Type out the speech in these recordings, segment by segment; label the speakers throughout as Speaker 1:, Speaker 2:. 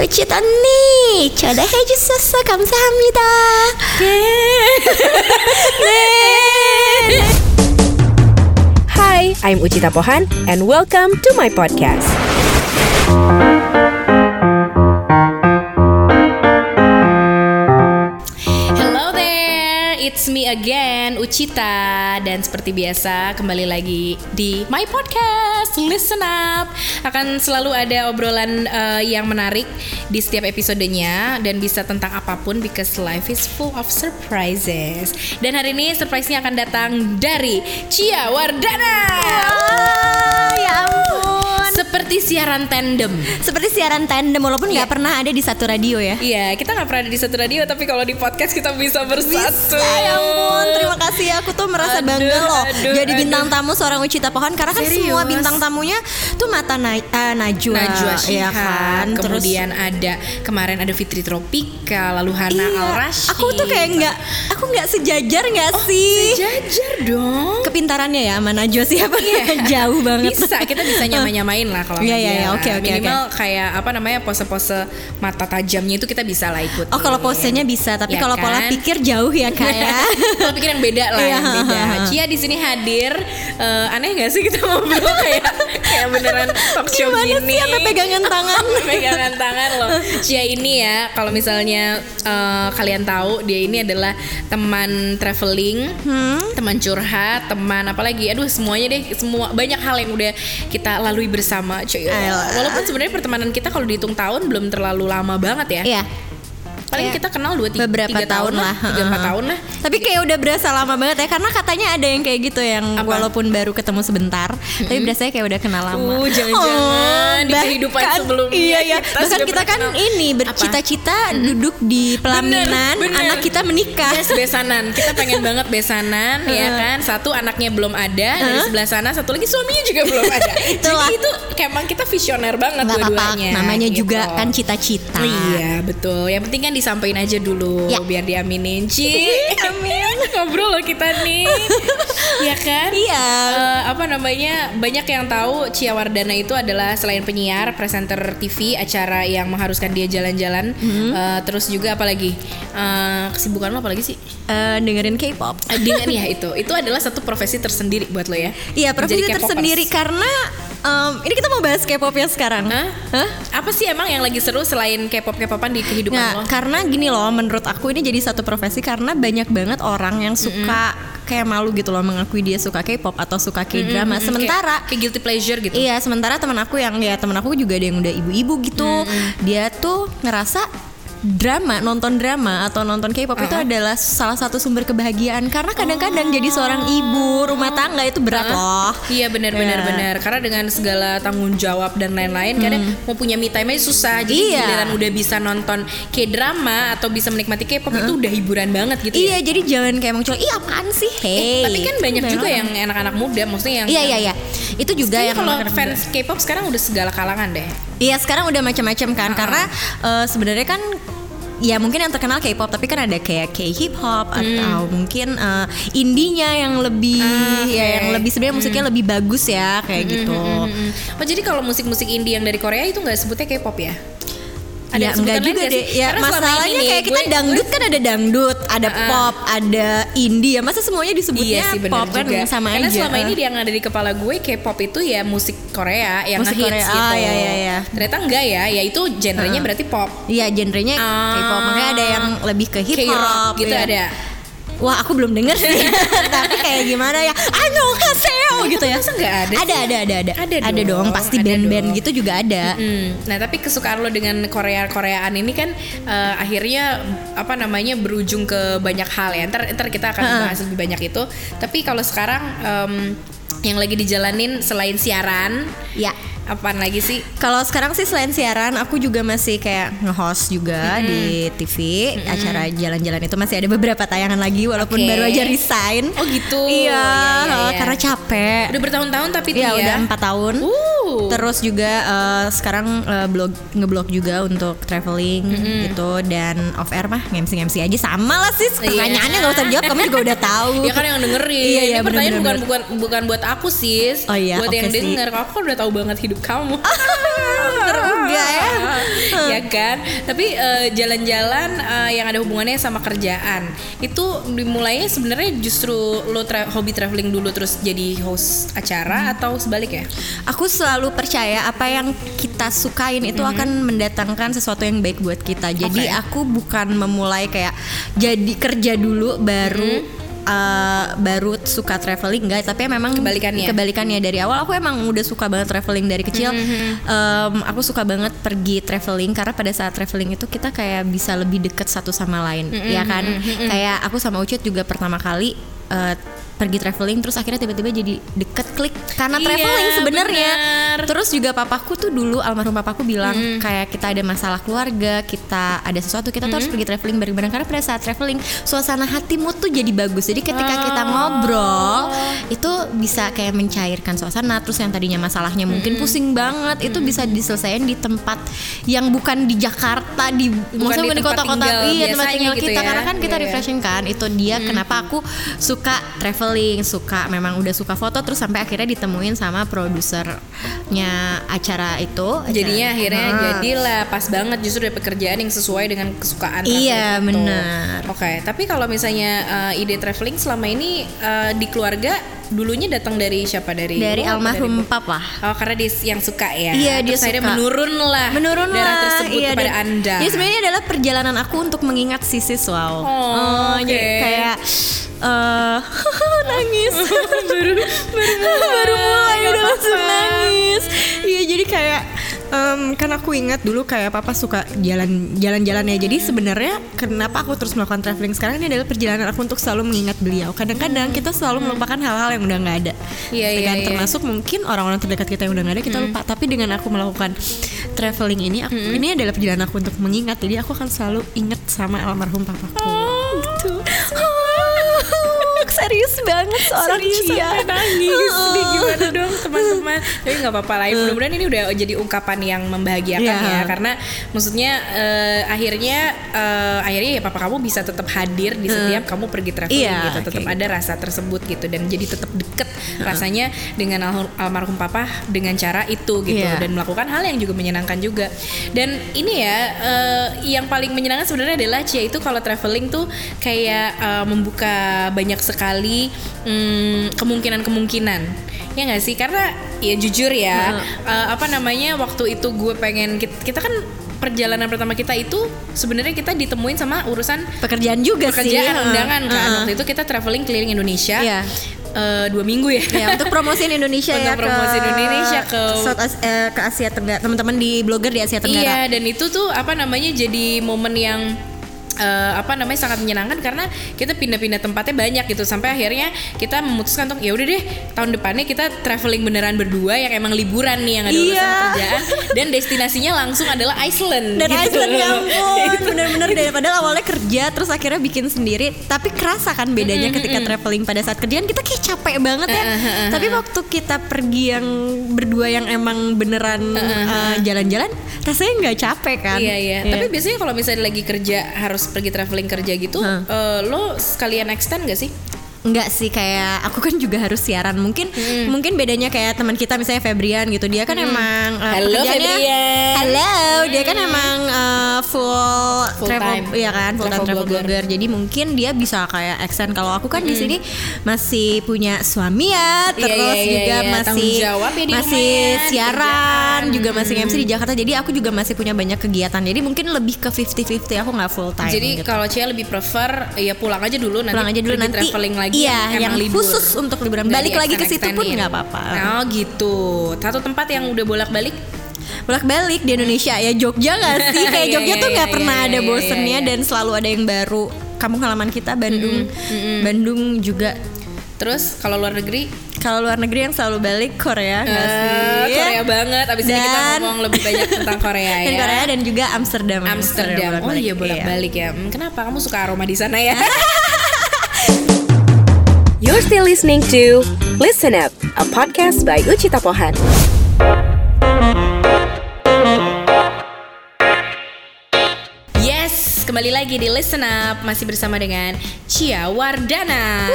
Speaker 1: 우치도 언니 초대해 주셔서 감사합니다.
Speaker 2: Hi, I'm Uchita Pohan and welcome to my podcast.
Speaker 3: Hello there, it's me again, Uchita Dan seperti biasa, kembali lagi di My Podcast, Listen Up Akan selalu ada obrolan eh, yang menarik di setiap episodenya Dan bisa tentang apapun, because life is full of surprises Dan hari ini surprise-nya akan datang dari Cia Wardana
Speaker 1: ya ampun.
Speaker 3: Seperti siaran tandem
Speaker 1: Seperti siaran tandem walaupun nggak pernah ada di satu radio ya.
Speaker 3: Iya, kita nggak pernah ada di satu radio, tapi kalau di podcast kita bisa bersatu.
Speaker 1: Ya ampun, terima kasih aku tuh merasa
Speaker 3: Aduh,
Speaker 1: bangga loh
Speaker 3: aduh,
Speaker 1: jadi
Speaker 3: aduh.
Speaker 1: bintang tamu seorang Ucita Pohon karena kan
Speaker 3: Serius?
Speaker 1: semua bintang tamunya tuh mata na eh, Najwa,
Speaker 3: Najwa
Speaker 1: ya
Speaker 3: Shihab,
Speaker 1: kan. Terus
Speaker 3: iya kemudian ada kemarin ada Fitri Tropika, lalu Hana
Speaker 1: iya,
Speaker 3: Al Rashid.
Speaker 1: aku tuh kayak nggak aku nggak sejajar nggak sih?
Speaker 3: sejajar dong.
Speaker 1: Kepintarannya ya sama Najwa siapa jauh banget.
Speaker 3: Bisa, kita bisa nyamain-nyamain lah kalau
Speaker 1: Iya,
Speaker 3: sama
Speaker 1: iya,
Speaker 3: dia
Speaker 1: iya,
Speaker 3: lah.
Speaker 1: oke, oke,
Speaker 3: Minimal kayak apa namanya pose-pose mata tajamnya itu kita bisa lah ikut.
Speaker 1: Oh kalau posenya bisa, tapi
Speaker 3: Iya
Speaker 1: kalau pola
Speaker 3: kan?
Speaker 1: pikir jauh ya kayak.
Speaker 3: Kalau pikir yang beda lah,
Speaker 1: Iya.
Speaker 3: yang beda. Cia di sini hadir. Eh, aneh gak sih kita ngobrol kayak kayak beneran talk show
Speaker 1: Gimana
Speaker 3: gini.
Speaker 1: sih sampai pegangan tangan?
Speaker 3: pegangan tangan loh. Cia ini ya, kalau misalnya eh, kalian tahu dia ini adalah teman traveling,
Speaker 1: Hmm?
Speaker 3: teman curhat, teman apa lagi? Aduh, semuanya deh, semua banyak hal yang udah kita lalui bersama, cuy.
Speaker 1: Ayolah.
Speaker 3: Walaupun sebenarnya pertemanan kita kalau dihitung tahun belum terlalu lama banget ya.
Speaker 1: Iya,
Speaker 3: Paling
Speaker 1: kayak
Speaker 3: kita kenal 2 3
Speaker 1: beberapa tahun lah.
Speaker 3: tiga empat
Speaker 1: Heeh.
Speaker 3: tahun lah.
Speaker 1: tapi kayak udah berasa lama banget ya karena katanya ada yang kayak gitu yang
Speaker 3: Apa? Hmm.
Speaker 1: walaupun baru ketemu sebentar, tapi berasanya kayak udah kenal lama. Oh,
Speaker 3: Uh, jangan-jangan di
Speaker 1: bahkan-
Speaker 3: kehidupan sebelumnya
Speaker 1: Iya iya.
Speaker 3: kita
Speaker 1: Bahkan
Speaker 3: sudah
Speaker 1: kita kan
Speaker 3: pernah kenal.
Speaker 1: ini bercita-cita duduk di pelaminan,
Speaker 3: bener. Iya,
Speaker 1: anak kita menikah.
Speaker 3: Yes, besanan. Kita pengen banget besanan, ya kan? Satu anaknya belum ada dari sebelah sana, satu lagi suaminya juga belum ada.
Speaker 1: Itulah.
Speaker 3: Jadi itu kayak emang kita visioner banget
Speaker 1: Gak apa-apa,
Speaker 3: dua-duanya.
Speaker 1: namanya
Speaker 3: gitu.
Speaker 1: juga kan cita-cita.
Speaker 3: Iya betul. Yang penting kan disampaikan aja dulu
Speaker 1: Ya. Iya.
Speaker 3: biar diaminin, Ci. Amin. Ngobrol loh kita nih. ya kan?
Speaker 1: Iya.
Speaker 3: Eh, apa namanya? Banyak yang tahu Cia Wardana itu adalah selain penyiar, presenter TV, acara yang mengharuskan dia jalan-jalan.
Speaker 1: Mhm.
Speaker 3: Eh, terus juga apalagi? Eh, kesibukan lo apalagi sih?
Speaker 1: Eh, dengerin K-pop.
Speaker 3: Eh, Dengan ya itu. Itu adalah satu profesi tersendiri buat lo ya.
Speaker 1: Iya, profesi
Speaker 3: Jadi K-popers.
Speaker 1: tersendiri karena em, ini kita mau bahas K-pop ya sekarang.
Speaker 3: Hah?
Speaker 1: Hah?
Speaker 3: Apa sih emang yang lagi seru selain K-pop-K-popan di kehidupan
Speaker 1: Nggak,
Speaker 3: lo?
Speaker 1: karena gini loh, menurut aku ini jadi satu profesi karena banyak banget orang yang suka kayak malu gitu loh mengakui dia suka K-pop atau suka K-drama.
Speaker 3: Mm,
Speaker 1: Sementara
Speaker 3: kayak, kayak guilty pleasure gitu.
Speaker 1: Iya, sementara teman aku yang ya teman aku juga ada yang udah ibu-ibu gitu. Dia tuh ngerasa drama, nonton drama atau nonton K-pop itu
Speaker 3: Uh-huh.
Speaker 1: adalah salah satu sumber kebahagiaan karena kadang-kadang jadi seorang ibu rumah
Speaker 3: Ah.
Speaker 1: tangga itu berat loh.
Speaker 3: Iya benar-benar
Speaker 1: Ya.
Speaker 3: benar. Karena dengan segala tanggung jawab dan lain-lain, kadang mau punya me time aja susah.
Speaker 1: Hmm.
Speaker 3: Jadi
Speaker 1: Iya.
Speaker 3: giliran udah bisa nonton K-drama atau bisa menikmati K-pop itu udah hiburan banget gitu.
Speaker 1: Iya,
Speaker 3: ya.
Speaker 1: jadi jangan kayak muncul, "Ih, apaan sih?" Hey. gitu
Speaker 3: Tapi kan banyak juga yang anak-anak muda, maksudnya yang
Speaker 1: Iya, iya, iya. Itu juga yang
Speaker 3: Kayaknya kalau fans K-pop sekarang udah segala kalangan deh.
Speaker 1: Iya sekarang udah macam-macam kan karena eh, sebenarnya kan ya mungkin yang terkenal K-pop tapi kan ada kayak K-hip hop
Speaker 3: Hmm.
Speaker 1: atau mungkin eh, indinya yang lebih
Speaker 3: Ah,
Speaker 1: ya yang lebih
Speaker 3: Hmm.
Speaker 1: sebenarnya musiknya lebih bagus ya kayak gitu.
Speaker 3: Mm-mm. Oh jadi kalau musik-musik indie yang dari Korea itu nggak sebutnya K-pop ya?
Speaker 1: Ya
Speaker 3: sebutan
Speaker 1: enggak
Speaker 3: lain
Speaker 1: juga
Speaker 3: nggak sih?
Speaker 1: deh. Ya
Speaker 3: Karena selama
Speaker 1: masalahnya
Speaker 3: ini nih,
Speaker 1: kayak kita
Speaker 3: gue-
Speaker 1: dangdut kan ada dangdut, ada
Speaker 3: Ah.
Speaker 1: pop, ada indie ya. Masa semuanya disebutnya
Speaker 3: Iya sih benar
Speaker 1: pop kan
Speaker 3: juga.
Speaker 1: sama
Speaker 3: Karena
Speaker 1: aja.
Speaker 3: selama ini yang ada di kepala gue K-pop itu ya musik Korea yang
Speaker 1: Musik
Speaker 3: ngehits
Speaker 1: Korea,
Speaker 3: gitu.
Speaker 1: ah, iya, iya, iya.
Speaker 3: Ternyata enggak ya, ya itu genrenya berarti pop.
Speaker 1: Iya genrenya
Speaker 3: Ah.
Speaker 1: K-pop makanya ada yang lebih ke hip hop
Speaker 3: K-rock gitu
Speaker 1: ya.
Speaker 3: ada.
Speaker 1: Wah aku belum denger sih Tapi kayak gimana ya Annyeonghaseyo gitu ya
Speaker 3: Oh, Masa nggak ada
Speaker 1: Ada ada ada ada
Speaker 3: Ada dong,
Speaker 1: dong Pasti
Speaker 3: ada
Speaker 1: band-band
Speaker 3: dong.
Speaker 1: gitu juga ada
Speaker 3: Hmm. Nah tapi kesukaan lo dengan Korea-Koreaan ini kan eh, akhirnya apa namanya berujung ke banyak hal ya. Ntar, ntar kita akan bahas lebih banyak itu. Tapi kalau sekarang em, yang lagi dijalanin selain siaran,
Speaker 1: Ya
Speaker 3: apaan lagi sih?
Speaker 1: kalau sekarang sih selain siaran aku juga masih kayak nge-host juga di TV acara jalan-jalan itu masih ada beberapa tayangan lagi walaupun
Speaker 3: Oke.
Speaker 1: baru aja resign
Speaker 3: Oh, gitu.
Speaker 1: iya
Speaker 3: Iya, iya, iya.
Speaker 1: karena capek
Speaker 3: Udah bertahun-tahun tapi tuh
Speaker 1: Iya
Speaker 3: ya.
Speaker 1: udah empat tahun
Speaker 3: Uh, True.
Speaker 1: Terus juga eh, sekarang eh, blog ngeblog juga untuk traveling gitu dan off air mah ngemsi ngemsi aja sama lah sis
Speaker 3: Iya.
Speaker 1: pertanyaannya nggak usah dijawab kamu juga udah tahu.
Speaker 3: Ya kan yang dengerin.
Speaker 1: Iya iya
Speaker 3: Ini pertanyaan bukan,
Speaker 1: bener-bener.
Speaker 3: bukan bukan buat aku sis.
Speaker 1: Oh iya,
Speaker 3: buat
Speaker 1: oke
Speaker 3: yang
Speaker 1: sih.
Speaker 3: denger kamu kan udah tahu banget hidup kamu.
Speaker 1: Bener juga ya.
Speaker 3: ya kan. Tapi eh, jalan-jalan eh, yang ada hubungannya sama kerjaan itu dimulainya sebenarnya justru lo tra- hobi traveling dulu terus jadi host acara atau sebaliknya?
Speaker 1: Aku selalu percaya apa yang kita sukain itu akan mendatangkan sesuatu yang baik buat kita. Jadi
Speaker 3: Mhm. Oke.
Speaker 1: aku bukan memulai kayak jadi kerja dulu baru
Speaker 3: Mhm.
Speaker 1: eh, baru suka traveling enggak, tapi memang
Speaker 3: Kebalikannya.
Speaker 1: Kebalikannya dari awal aku emang udah suka banget traveling dari kecil.
Speaker 3: Mhm.
Speaker 1: Em, aku suka banget pergi traveling karena pada saat traveling itu kita kayak bisa lebih deket satu sama lain,
Speaker 3: Mhm,
Speaker 1: ya kan? Kayak aku sama Ucut juga pertama kali eh, pergi traveling terus akhirnya tiba-tiba jadi deket klik karena
Speaker 3: Iya,
Speaker 1: traveling sebenarnya.
Speaker 3: benar.
Speaker 1: Terus juga papaku tuh dulu almarhum papaku bilang kayak kita ada masalah keluarga, kita ada sesuatu, kita tuh harus pergi traveling bareng-bareng karena pada saat traveling suasana hatimu tuh jadi bagus. Jadi ketika kita
Speaker 3: Oh.
Speaker 1: ngobrol itu bisa kayak mencairkan suasana. Terus yang tadinya masalahnya mungkin pusing banget itu bisa diselesaikan di tempat yang bukan di Jakarta, di maksudnya
Speaker 3: di
Speaker 1: bukan di
Speaker 3: tempat
Speaker 1: kota-kota
Speaker 3: tinggal
Speaker 1: iya tempat
Speaker 3: biasanya
Speaker 1: tinggal
Speaker 3: gitu
Speaker 1: kita
Speaker 3: ya.
Speaker 1: karena kan kita
Speaker 3: Iya, iya.
Speaker 1: refreshing kan. Itu dia
Speaker 3: Hmm.
Speaker 1: kenapa aku suka traveling, suka memang udah suka foto terus sampai akhirnya ditemuin sama produsernya acara itu. acara-
Speaker 3: Jadinya akhirnya
Speaker 1: Ah.
Speaker 3: jadilah pas banget justru dari pekerjaan yang sesuai dengan kesukaan kamu
Speaker 1: Iya,
Speaker 3: gitu.
Speaker 1: benar.
Speaker 3: Oke, tapi kalau misalnya eh, ide traveling selama ini eh, di keluarga dulunya datang dari siapa dari
Speaker 1: dari
Speaker 3: lu apa
Speaker 1: almarhum
Speaker 3: dari-
Speaker 1: papa.
Speaker 3: Oh karena dia yang suka ya.
Speaker 1: Iya, dia
Speaker 3: Terus akhirnya
Speaker 1: suka.
Speaker 3: menurun lah.
Speaker 1: Menurun
Speaker 3: Ah, darah
Speaker 1: lah,
Speaker 3: tersebut
Speaker 1: iya,
Speaker 3: kepada
Speaker 1: dan-
Speaker 3: anda.
Speaker 1: Ya sebenarnya adalah perjalanan aku untuk mengingat sisi wow.
Speaker 3: Oh, oke.
Speaker 1: jadi kayak eh nangis baru baru baru mulai udah langsung nangis. Iya jadi kayak em, kan aku ingat dulu kayak papa suka jalan jalan-jalan ya. Jadi sebenarnya kenapa aku terus melakukan traveling sekarang ini adalah perjalanan aku untuk selalu mengingat beliau. Kadang-kadang kita selalu melupakan hal-hal yang udah nggak ada.
Speaker 3: Hmm.
Speaker 1: Gitu
Speaker 3: Iya, iya,
Speaker 1: kan?
Speaker 3: iya. Hmm.
Speaker 1: Termasuk termasuk mungkin orang-orang terdekat kita yang udah gak ada kita lupa tapi dengan aku melakukan traveling ini aku, ini adalah perjalanan aku untuk mengingat jadi aku akan selalu inget sama almarhum papaku gitu Oh, serius banget seorang
Speaker 3: Serius
Speaker 1: Cia
Speaker 3: sampai nangis Ini
Speaker 1: Oh.
Speaker 3: gimana dong teman-teman Tapi nggak apa-apa lah ya, Mudah-mudahan ini udah jadi ungkapan yang membahagiakan
Speaker 1: Iya.
Speaker 3: ya Karena maksudnya eh, akhirnya eh, Akhirnya ya papa kamu bisa tetap hadir Di setiap kamu pergi traveling
Speaker 1: Iya,
Speaker 3: gitu Tetap
Speaker 1: kayak
Speaker 3: ada rasa tersebut gitu Dan jadi tetap deket rasanya Dengan al- almarhum papa Dengan cara itu gitu
Speaker 1: Iya.
Speaker 3: Dan melakukan hal yang juga menyenangkan juga Dan ini ya eh, Yang paling menyenangkan sebenarnya adalah Cia itu kalau traveling tuh Kayak eh, membuka banyak sekali mm, Kemungkinan-kemungkinan Ya nggak sih? Karena ya jujur ya eh, Apa namanya Waktu itu gue pengen Kita, kita kan perjalanan pertama kita itu sebenarnya kita ditemuin sama urusan
Speaker 1: pekerjaan juga sih
Speaker 3: pekerjaan
Speaker 1: heeh.
Speaker 3: undangan kan
Speaker 1: Heeh.
Speaker 3: waktu itu kita traveling keliling Indonesia
Speaker 1: Iya.
Speaker 3: eh, dua minggu ya
Speaker 1: Ya, untuk promosiin Indonesia
Speaker 3: Untuk
Speaker 1: ya
Speaker 3: promosiin
Speaker 1: ke
Speaker 3: Indonesia ke-
Speaker 1: South As- eh, ke Asia Tenggara teman-teman di blogger di Asia
Speaker 3: Iya,
Speaker 1: Tenggara
Speaker 3: dan itu tuh apa namanya jadi momen yang eh, apa namanya sangat menyenangkan karena kita pindah-pindah tempatnya banyak gitu sampai akhirnya kita memutuskan untuk ya udah deh tahun depannya kita traveling beneran berdua yang emang liburan nih yang ada urusan
Speaker 1: Iya.
Speaker 3: kerjaan dan destinasinya langsung adalah Iceland.
Speaker 1: dan
Speaker 3: gitu.
Speaker 1: Iceland ya ampun bener-bener daripada awalnya kerja terus akhirnya bikin sendiri tapi kerasa kan bedanya ketika traveling pada saat kerjaan kita kayak capek banget
Speaker 3: Eh,
Speaker 1: ya tapi waktu kita pergi yang berdua yang emang beneran eh, jalan-jalan rasanya nggak capek kan
Speaker 3: Iya iya. Tapi biasanya kalau misalnya lagi kerja harus pergi traveling kerja gitu,
Speaker 1: Hah.
Speaker 3: eh, lo sekalian extend gak sih?
Speaker 1: Enggak sih kayak aku kan juga harus siaran mungkin
Speaker 3: Hmm.
Speaker 1: mungkin bedanya kayak teman kita misalnya Febrian gitu dia kan emang uh,
Speaker 3: Halo,
Speaker 1: pekerjaannya-
Speaker 3: Febrian. Hmm.
Speaker 1: halo dia kan emang uh, full,
Speaker 3: Full
Speaker 1: travel
Speaker 3: time.
Speaker 1: ya kan full time
Speaker 3: Travel
Speaker 1: travel
Speaker 3: blogger. Hmm.
Speaker 1: blogger jadi mungkin dia bisa kayak extend kalau aku kan di sini masih punya suami ya
Speaker 3: Iya,
Speaker 1: terus
Speaker 3: iya, iya,
Speaker 1: juga
Speaker 3: iya.
Speaker 1: masih
Speaker 3: Tanggung jawab ya di
Speaker 1: masih
Speaker 3: rumah ya, di Hmm.
Speaker 1: siaran juga masih MC di Jakarta jadi aku juga masih punya banyak kegiatan jadi mungkin lebih ke 50-50 aku nggak full time
Speaker 3: Jadi
Speaker 1: gitu.
Speaker 3: kalau Cia lebih prefer ya pulang aja dulu nanti
Speaker 1: pulang aja dulu
Speaker 3: pergi
Speaker 1: nanti
Speaker 3: traveling lagi
Speaker 1: iya
Speaker 3: emang
Speaker 1: yang
Speaker 3: libur.
Speaker 1: khusus untuk liburan
Speaker 3: Nggak
Speaker 1: balik lagi ke situ pun
Speaker 3: di-extend-extendin.
Speaker 1: nggak apa-apa
Speaker 3: Oh gitu. Satu tempat yang udah bolak-balik
Speaker 1: bolak balik di Indonesia ya Jogja nggak sih kayak
Speaker 3: Iya,
Speaker 1: Jogja
Speaker 3: iya,
Speaker 1: tuh nggak
Speaker 3: iya,
Speaker 1: pernah
Speaker 3: iya,
Speaker 1: ada
Speaker 3: iya,
Speaker 1: bosennya
Speaker 3: iya.
Speaker 1: dan selalu ada yang baru kampung halaman kita Bandung Bandung juga
Speaker 3: Terus kalau luar negeri
Speaker 1: kalau luar negeri yang selalu balik Korea nggak
Speaker 3: eh,
Speaker 1: sih Iya
Speaker 3: Korea banget. Abis ini kita
Speaker 1: Dan-
Speaker 3: ngomong lebih banyak tentang Korea ya.
Speaker 1: dan Kan Korea dan juga Amsterdam
Speaker 3: Amsterdam. Oh
Speaker 1: bolak-balik.
Speaker 3: iya bolak-balik ya. Hmm, kenapa kamu suka aroma di sana ya?
Speaker 4: You're still listening to Listen Up, a podcast by Uchita Pohan.
Speaker 3: Podcast kembali lagi di Listen Up masih bersama dengan Cia Wardana.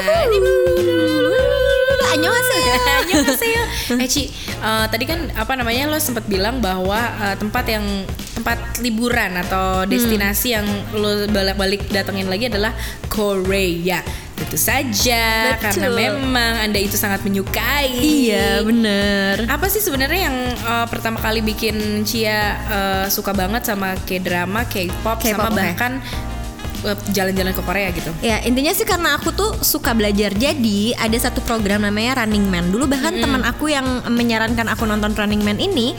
Speaker 4: Annyeonghaseyo.
Speaker 3: Annyeonghaseyo. Eh Ci, eh, tadi kan apa namanya lo sempat bilang bahwa eh, tempat yang tempat liburan atau
Speaker 4: Hmm.
Speaker 3: destinasi yang lo balik-balik datengin lagi adalah Korea. Itu saja
Speaker 4: Betul.
Speaker 3: karena memang Anda itu sangat menyukai.
Speaker 4: Iya bener
Speaker 3: Apa sih sebenarnya yang eh, pertama kali bikin Cia eh, suka banget sama K-drama, K-pop, sama
Speaker 4: K-pop, oke.
Speaker 3: bahkan eh, jalan-jalan ke Korea gitu?
Speaker 4: Ya intinya sih karena aku tuh suka belajar Jadi ada satu program namanya Running Man Dulu bahkan teman aku yang menyarankan aku nonton Running Man ini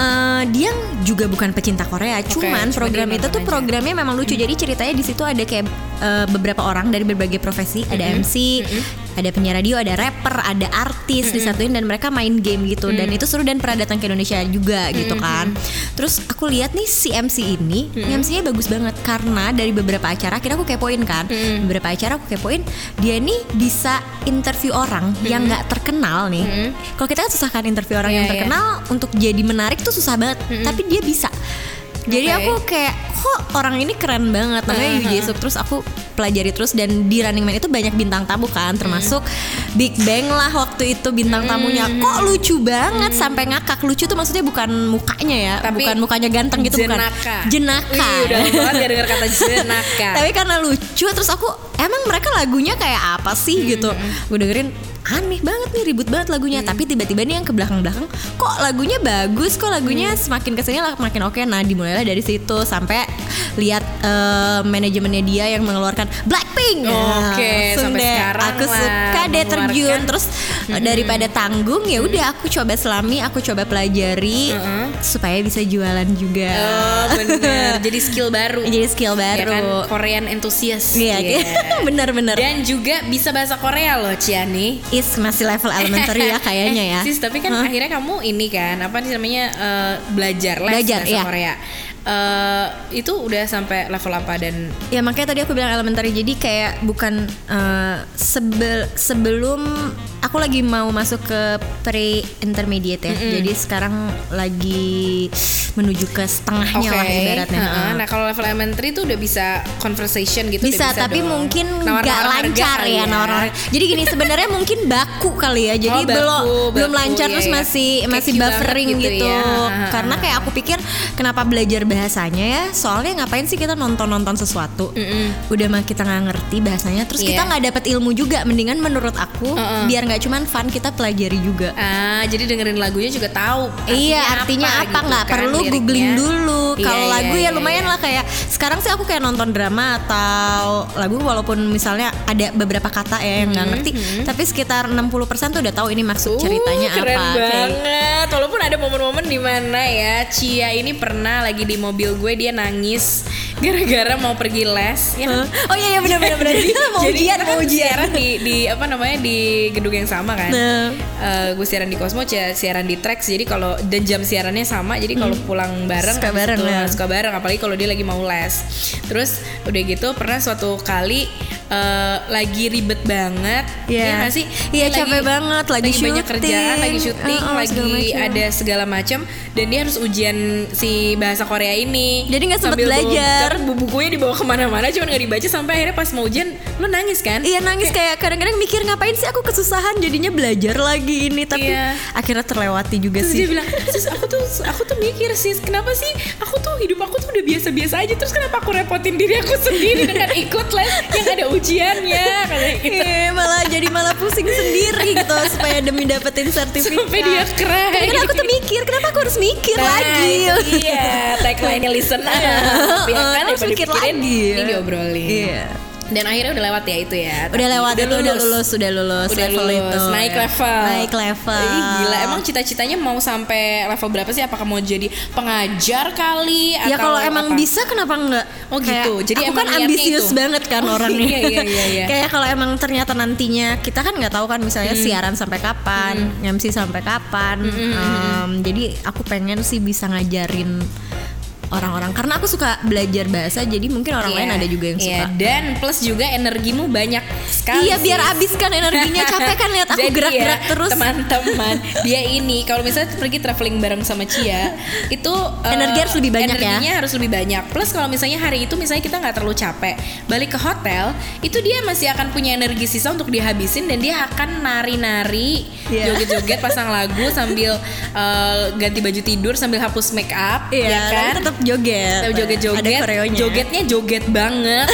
Speaker 4: eh, Dia juga bukan pecinta Korea Cuman
Speaker 3: cuma
Speaker 4: program
Speaker 3: dia
Speaker 4: itu
Speaker 3: nonton
Speaker 4: tuh
Speaker 3: aja.
Speaker 4: programnya memang lucu Jadi ceritanya di situ ada kayak eh, beberapa orang dari berbagai profesi Ada MC Ada penyiar radio, ada rapper, ada artis disatuin dan mereka main game gitu dan itu seru dan pernah datang ke Indonesia juga gitu kan. Terus aku lihat nih si MC ini, MC-nya bagus banget karena dari beberapa acara akhirnya aku kepoin kan. Beberapa acara aku kepoin dia nih bisa interview orang yang nggak terkenal nih. Kalau kita kan susah kan interview orang
Speaker 3: Hmm. Iya, iya. Hmm.
Speaker 4: yang terkenal untuk jadi menarik tuh susah banget,
Speaker 1: Hmm.
Speaker 4: tapi dia bisa. Jadi
Speaker 3: Oke.
Speaker 4: aku kayak kok orang ini keren banget namanya Yu Jae Suk terus aku pelajari terus dan di Running Man itu banyak bintang tamu kan termasuk Big Bang lah waktu itu
Speaker 1: Hmm.
Speaker 4: bintang tamunya
Speaker 3: Hmm.
Speaker 4: kok lucu banget sampai ngakak lucu tuh maksudnya bukan mukanya ya
Speaker 3: Tapi
Speaker 4: bukan mukanya ganteng gitu
Speaker 3: jenaka.
Speaker 4: bukan jenaka
Speaker 3: Wih, udah lama banget gak dengar kata jenaka.
Speaker 4: tapi karena lucu terus aku emang mereka lagunya kayak apa sih
Speaker 1: Hmm.
Speaker 4: gitu
Speaker 3: Hmm.
Speaker 4: gue dengerin aneh banget nih ribut banget lagunya tapi tiba-tiba nih yang ke belakang-belakang kok lagunya bagus kok lagunya semakin kesini lah makin oke nah dimulailah dari situ sampai lihat eh, manajemennya dia yang mengeluarkan Blackpink Nah,
Speaker 3: Oke,
Speaker 4: langsung
Speaker 3: sampai
Speaker 4: deh.
Speaker 3: sekarang
Speaker 4: aku
Speaker 3: lah
Speaker 4: suka deh terjun
Speaker 3: mengeluarkan.
Speaker 4: terus eh, daripada tanggung ya udah aku coba selami aku coba pelajari supaya bisa jualan juga
Speaker 3: Oh bener, jadi skill baru.
Speaker 4: jadi skill
Speaker 3: Ya
Speaker 4: baru
Speaker 3: kan, Korean enthusiast.
Speaker 4: Iya,
Speaker 3: Iya.
Speaker 4: benar-benar.
Speaker 3: Dan juga bisa bahasa Korea loh Ciani.
Speaker 4: Is masih level elementary ya kayaknya ya.
Speaker 3: Sis, tapi kan
Speaker 4: Hah?
Speaker 3: akhirnya kamu ini kan apa sih namanya eh, belajar les
Speaker 4: Belajar,
Speaker 3: bahasa
Speaker 4: iya.
Speaker 3: Korea. Eh, itu udah sampai level apa dan
Speaker 4: Ya makanya tadi aku bilang elementary jadi kayak bukan eh, sebel- sebelum aku lagi mau masuk ke pre intermediate ya. Jadi sekarang lagi menuju ke setengahnya lah ibaratnya.
Speaker 3: Heeh.
Speaker 4: Heeh.
Speaker 3: Nah kalau level elementary tuh udah bisa conversation gitu. udah
Speaker 4: bisa, tapi
Speaker 3: dong.
Speaker 4: mungkin
Speaker 3: Nawar-nawar
Speaker 4: nggak
Speaker 3: harga
Speaker 4: lancar
Speaker 3: kali
Speaker 4: ya nawar nawar jadi gini sebenarnya mungkin baku kali ya jadi
Speaker 3: Oh, baku,
Speaker 4: belum belum
Speaker 3: baku,
Speaker 4: lancar
Speaker 3: iya,
Speaker 4: terus
Speaker 3: iya.
Speaker 4: masih
Speaker 3: Kayak
Speaker 4: masih
Speaker 3: cute banget
Speaker 4: buffering
Speaker 3: gitu
Speaker 4: gitu,
Speaker 3: ya.
Speaker 4: karena kayak aku pikir kenapa belajar bahasanya ya soalnya ngapain sih kita nonton nonton sesuatu udah mah kita nggak ngerti bahasanya terus kita
Speaker 3: Iya.
Speaker 4: nggak dapet ilmu juga mendingan menurut aku biar nggak cuman fun kita pelajari juga
Speaker 3: Ah, jadi dengerin lagunya juga tahu.
Speaker 4: Iya artinya apa
Speaker 3: gitu
Speaker 4: nggak
Speaker 3: kan,
Speaker 4: perlu
Speaker 3: liriknya.
Speaker 4: googling dulu
Speaker 3: Iya,
Speaker 4: kalau
Speaker 3: iya,
Speaker 4: lagu
Speaker 3: iya,
Speaker 4: ya lumayan
Speaker 3: iya.
Speaker 4: lah kayak sekarang sih aku kayak nonton drama atau lagu walaupun misalnya ada beberapa kata ya yang nggak ngerti tapi sekitar 60% tuh udah tahu ini maksud
Speaker 3: Hmm, Uh,
Speaker 4: ceritanya
Speaker 3: keren
Speaker 4: apa Kayak-
Speaker 3: banget. Walaupun ada momen-momen di mana ya Cia ini pernah lagi di mobil gue dia nangis gara-gara mau pergi les. Ya,
Speaker 4: Hah? oh iya iya benar benar benar mau
Speaker 3: jadi
Speaker 4: ujian
Speaker 3: kita
Speaker 4: mau
Speaker 3: kan
Speaker 4: ujian
Speaker 3: siaran di, di apa namanya di gedung yang sama kan.
Speaker 4: Nah.
Speaker 3: Eh, gue siaran di Cosmo, Cia siaran di Trax. Jadi kalau dan jam siarannya sama, jadi kalau pulang bareng,
Speaker 4: Hmm. Suka
Speaker 3: abis
Speaker 4: bareng,
Speaker 3: itu
Speaker 4: ya.
Speaker 3: suka bareng. Apalagi kalau dia lagi mau les. Terus udah gitu pernah suatu kali eh, lagi ribet banget,
Speaker 4: Iya.
Speaker 3: nggak sih?
Speaker 4: Iya,
Speaker 3: Lagi-
Speaker 4: capek banget, lagi
Speaker 3: banyak
Speaker 4: syuting.
Speaker 3: kerjaan, lagi syuting,
Speaker 4: Oh, oh,
Speaker 3: lagi
Speaker 4: segala macam.
Speaker 3: ada segala macam dan dia harus ujian si bahasa Korea ini.
Speaker 4: Jadi nggak sempet
Speaker 3: Sambil bawa-
Speaker 4: belajar.
Speaker 3: terus bu- bukunya dibawa kemana-mana, cuman nggak dibaca sampai akhirnya pas mau ujian, lu nangis kan?
Speaker 4: Iya nangis kayak kadang-kadang mikir ngapain sih aku kesusahan jadinya belajar lagi ini tapi
Speaker 3: Iya.
Speaker 4: akhirnya terlewati juga
Speaker 3: Terus dia
Speaker 4: sih.
Speaker 3: bilang, sis aku tuh aku tuh mikir sis kenapa sih aku tuh hidup aku tuh udah biasa-biasa aja terus kenapa aku repotin diri aku sendiri dengan ikut les yang ada ujiannya katanya gitu.
Speaker 4: Eh, malah jadi malah pusing sendiri gitu supaya demi dapetin sertifikat.
Speaker 3: Sampai dia keren.
Speaker 4: Kadang-kadang Nah, aku tuh mikir, kenapa aku harus mikir
Speaker 3: Nah,
Speaker 4: lagi?
Speaker 3: itu Iya, tagline-nya listen up. Ya
Speaker 4: Heeh,
Speaker 3: kan,
Speaker 4: harus
Speaker 3: daripada
Speaker 4: mikir
Speaker 3: dipikirin,
Speaker 4: lagi.
Speaker 3: Ini diobrolin.
Speaker 4: Iya.
Speaker 3: Dan akhirnya udah lewat ya itu ya.
Speaker 4: Udah
Speaker 3: Tapi
Speaker 4: lewat itu, udah lulus, udah lulus,
Speaker 3: Udah
Speaker 4: level
Speaker 3: lulus,
Speaker 4: itu.
Speaker 3: naik level.
Speaker 4: Naik level.
Speaker 3: Ih, gila, emang cita-citanya mau sampai level berapa sih? Apakah mau jadi pengajar kali
Speaker 4: Ya
Speaker 3: atau
Speaker 4: kalau emang
Speaker 3: apa?
Speaker 4: bisa kenapa enggak?
Speaker 3: Oh, gitu. Jadi
Speaker 4: aku
Speaker 3: emang
Speaker 4: kan
Speaker 3: niatnya
Speaker 4: ambisius
Speaker 3: itu.
Speaker 4: banget kan
Speaker 3: Oh,
Speaker 4: orangnya.
Speaker 3: iya, iya, iya, iya. Hmm.
Speaker 4: Kayak kalau emang ternyata nantinya kita kan nggak tahu kan misalnya siaran sampai kapan, MC sampai kapan.
Speaker 3: hmm.
Speaker 4: Em, jadi aku pengen sih bisa ngajarin orang-orang karena aku suka belajar bahasa jadi mungkin orang lain
Speaker 3: Iya,
Speaker 4: ada juga yang
Speaker 3: iya.
Speaker 4: suka.
Speaker 3: Dan plus juga energimu banyak sekali.
Speaker 4: iya biar
Speaker 3: sih.
Speaker 4: abis kan energinya capek kan lihat aku
Speaker 3: Jadi
Speaker 4: gerak-gerak
Speaker 3: ya,
Speaker 4: terus.
Speaker 3: Teman-teman, dia ini kalau misalnya pergi traveling bareng sama Cia, itu eh,
Speaker 4: Energi harus lebih banyak ya.
Speaker 3: Energinya harus lebih banyak. Plus kalau misalnya hari itu misalnya kita nggak terlalu capek, balik ke hotel, itu dia masih akan punya energi sisa untuk dihabisin dan dia akan nari-nari,
Speaker 4: Iya.
Speaker 3: joget-joget, pasang lagu sambil eh, ganti baju tidur sambil hapus make up,
Speaker 4: Iya
Speaker 3: ya
Speaker 4: kan?
Speaker 3: kan?
Speaker 4: Tetap joget.
Speaker 3: Tahu joget-joget,
Speaker 4: Ada koreonya.
Speaker 3: jogetnya joget banget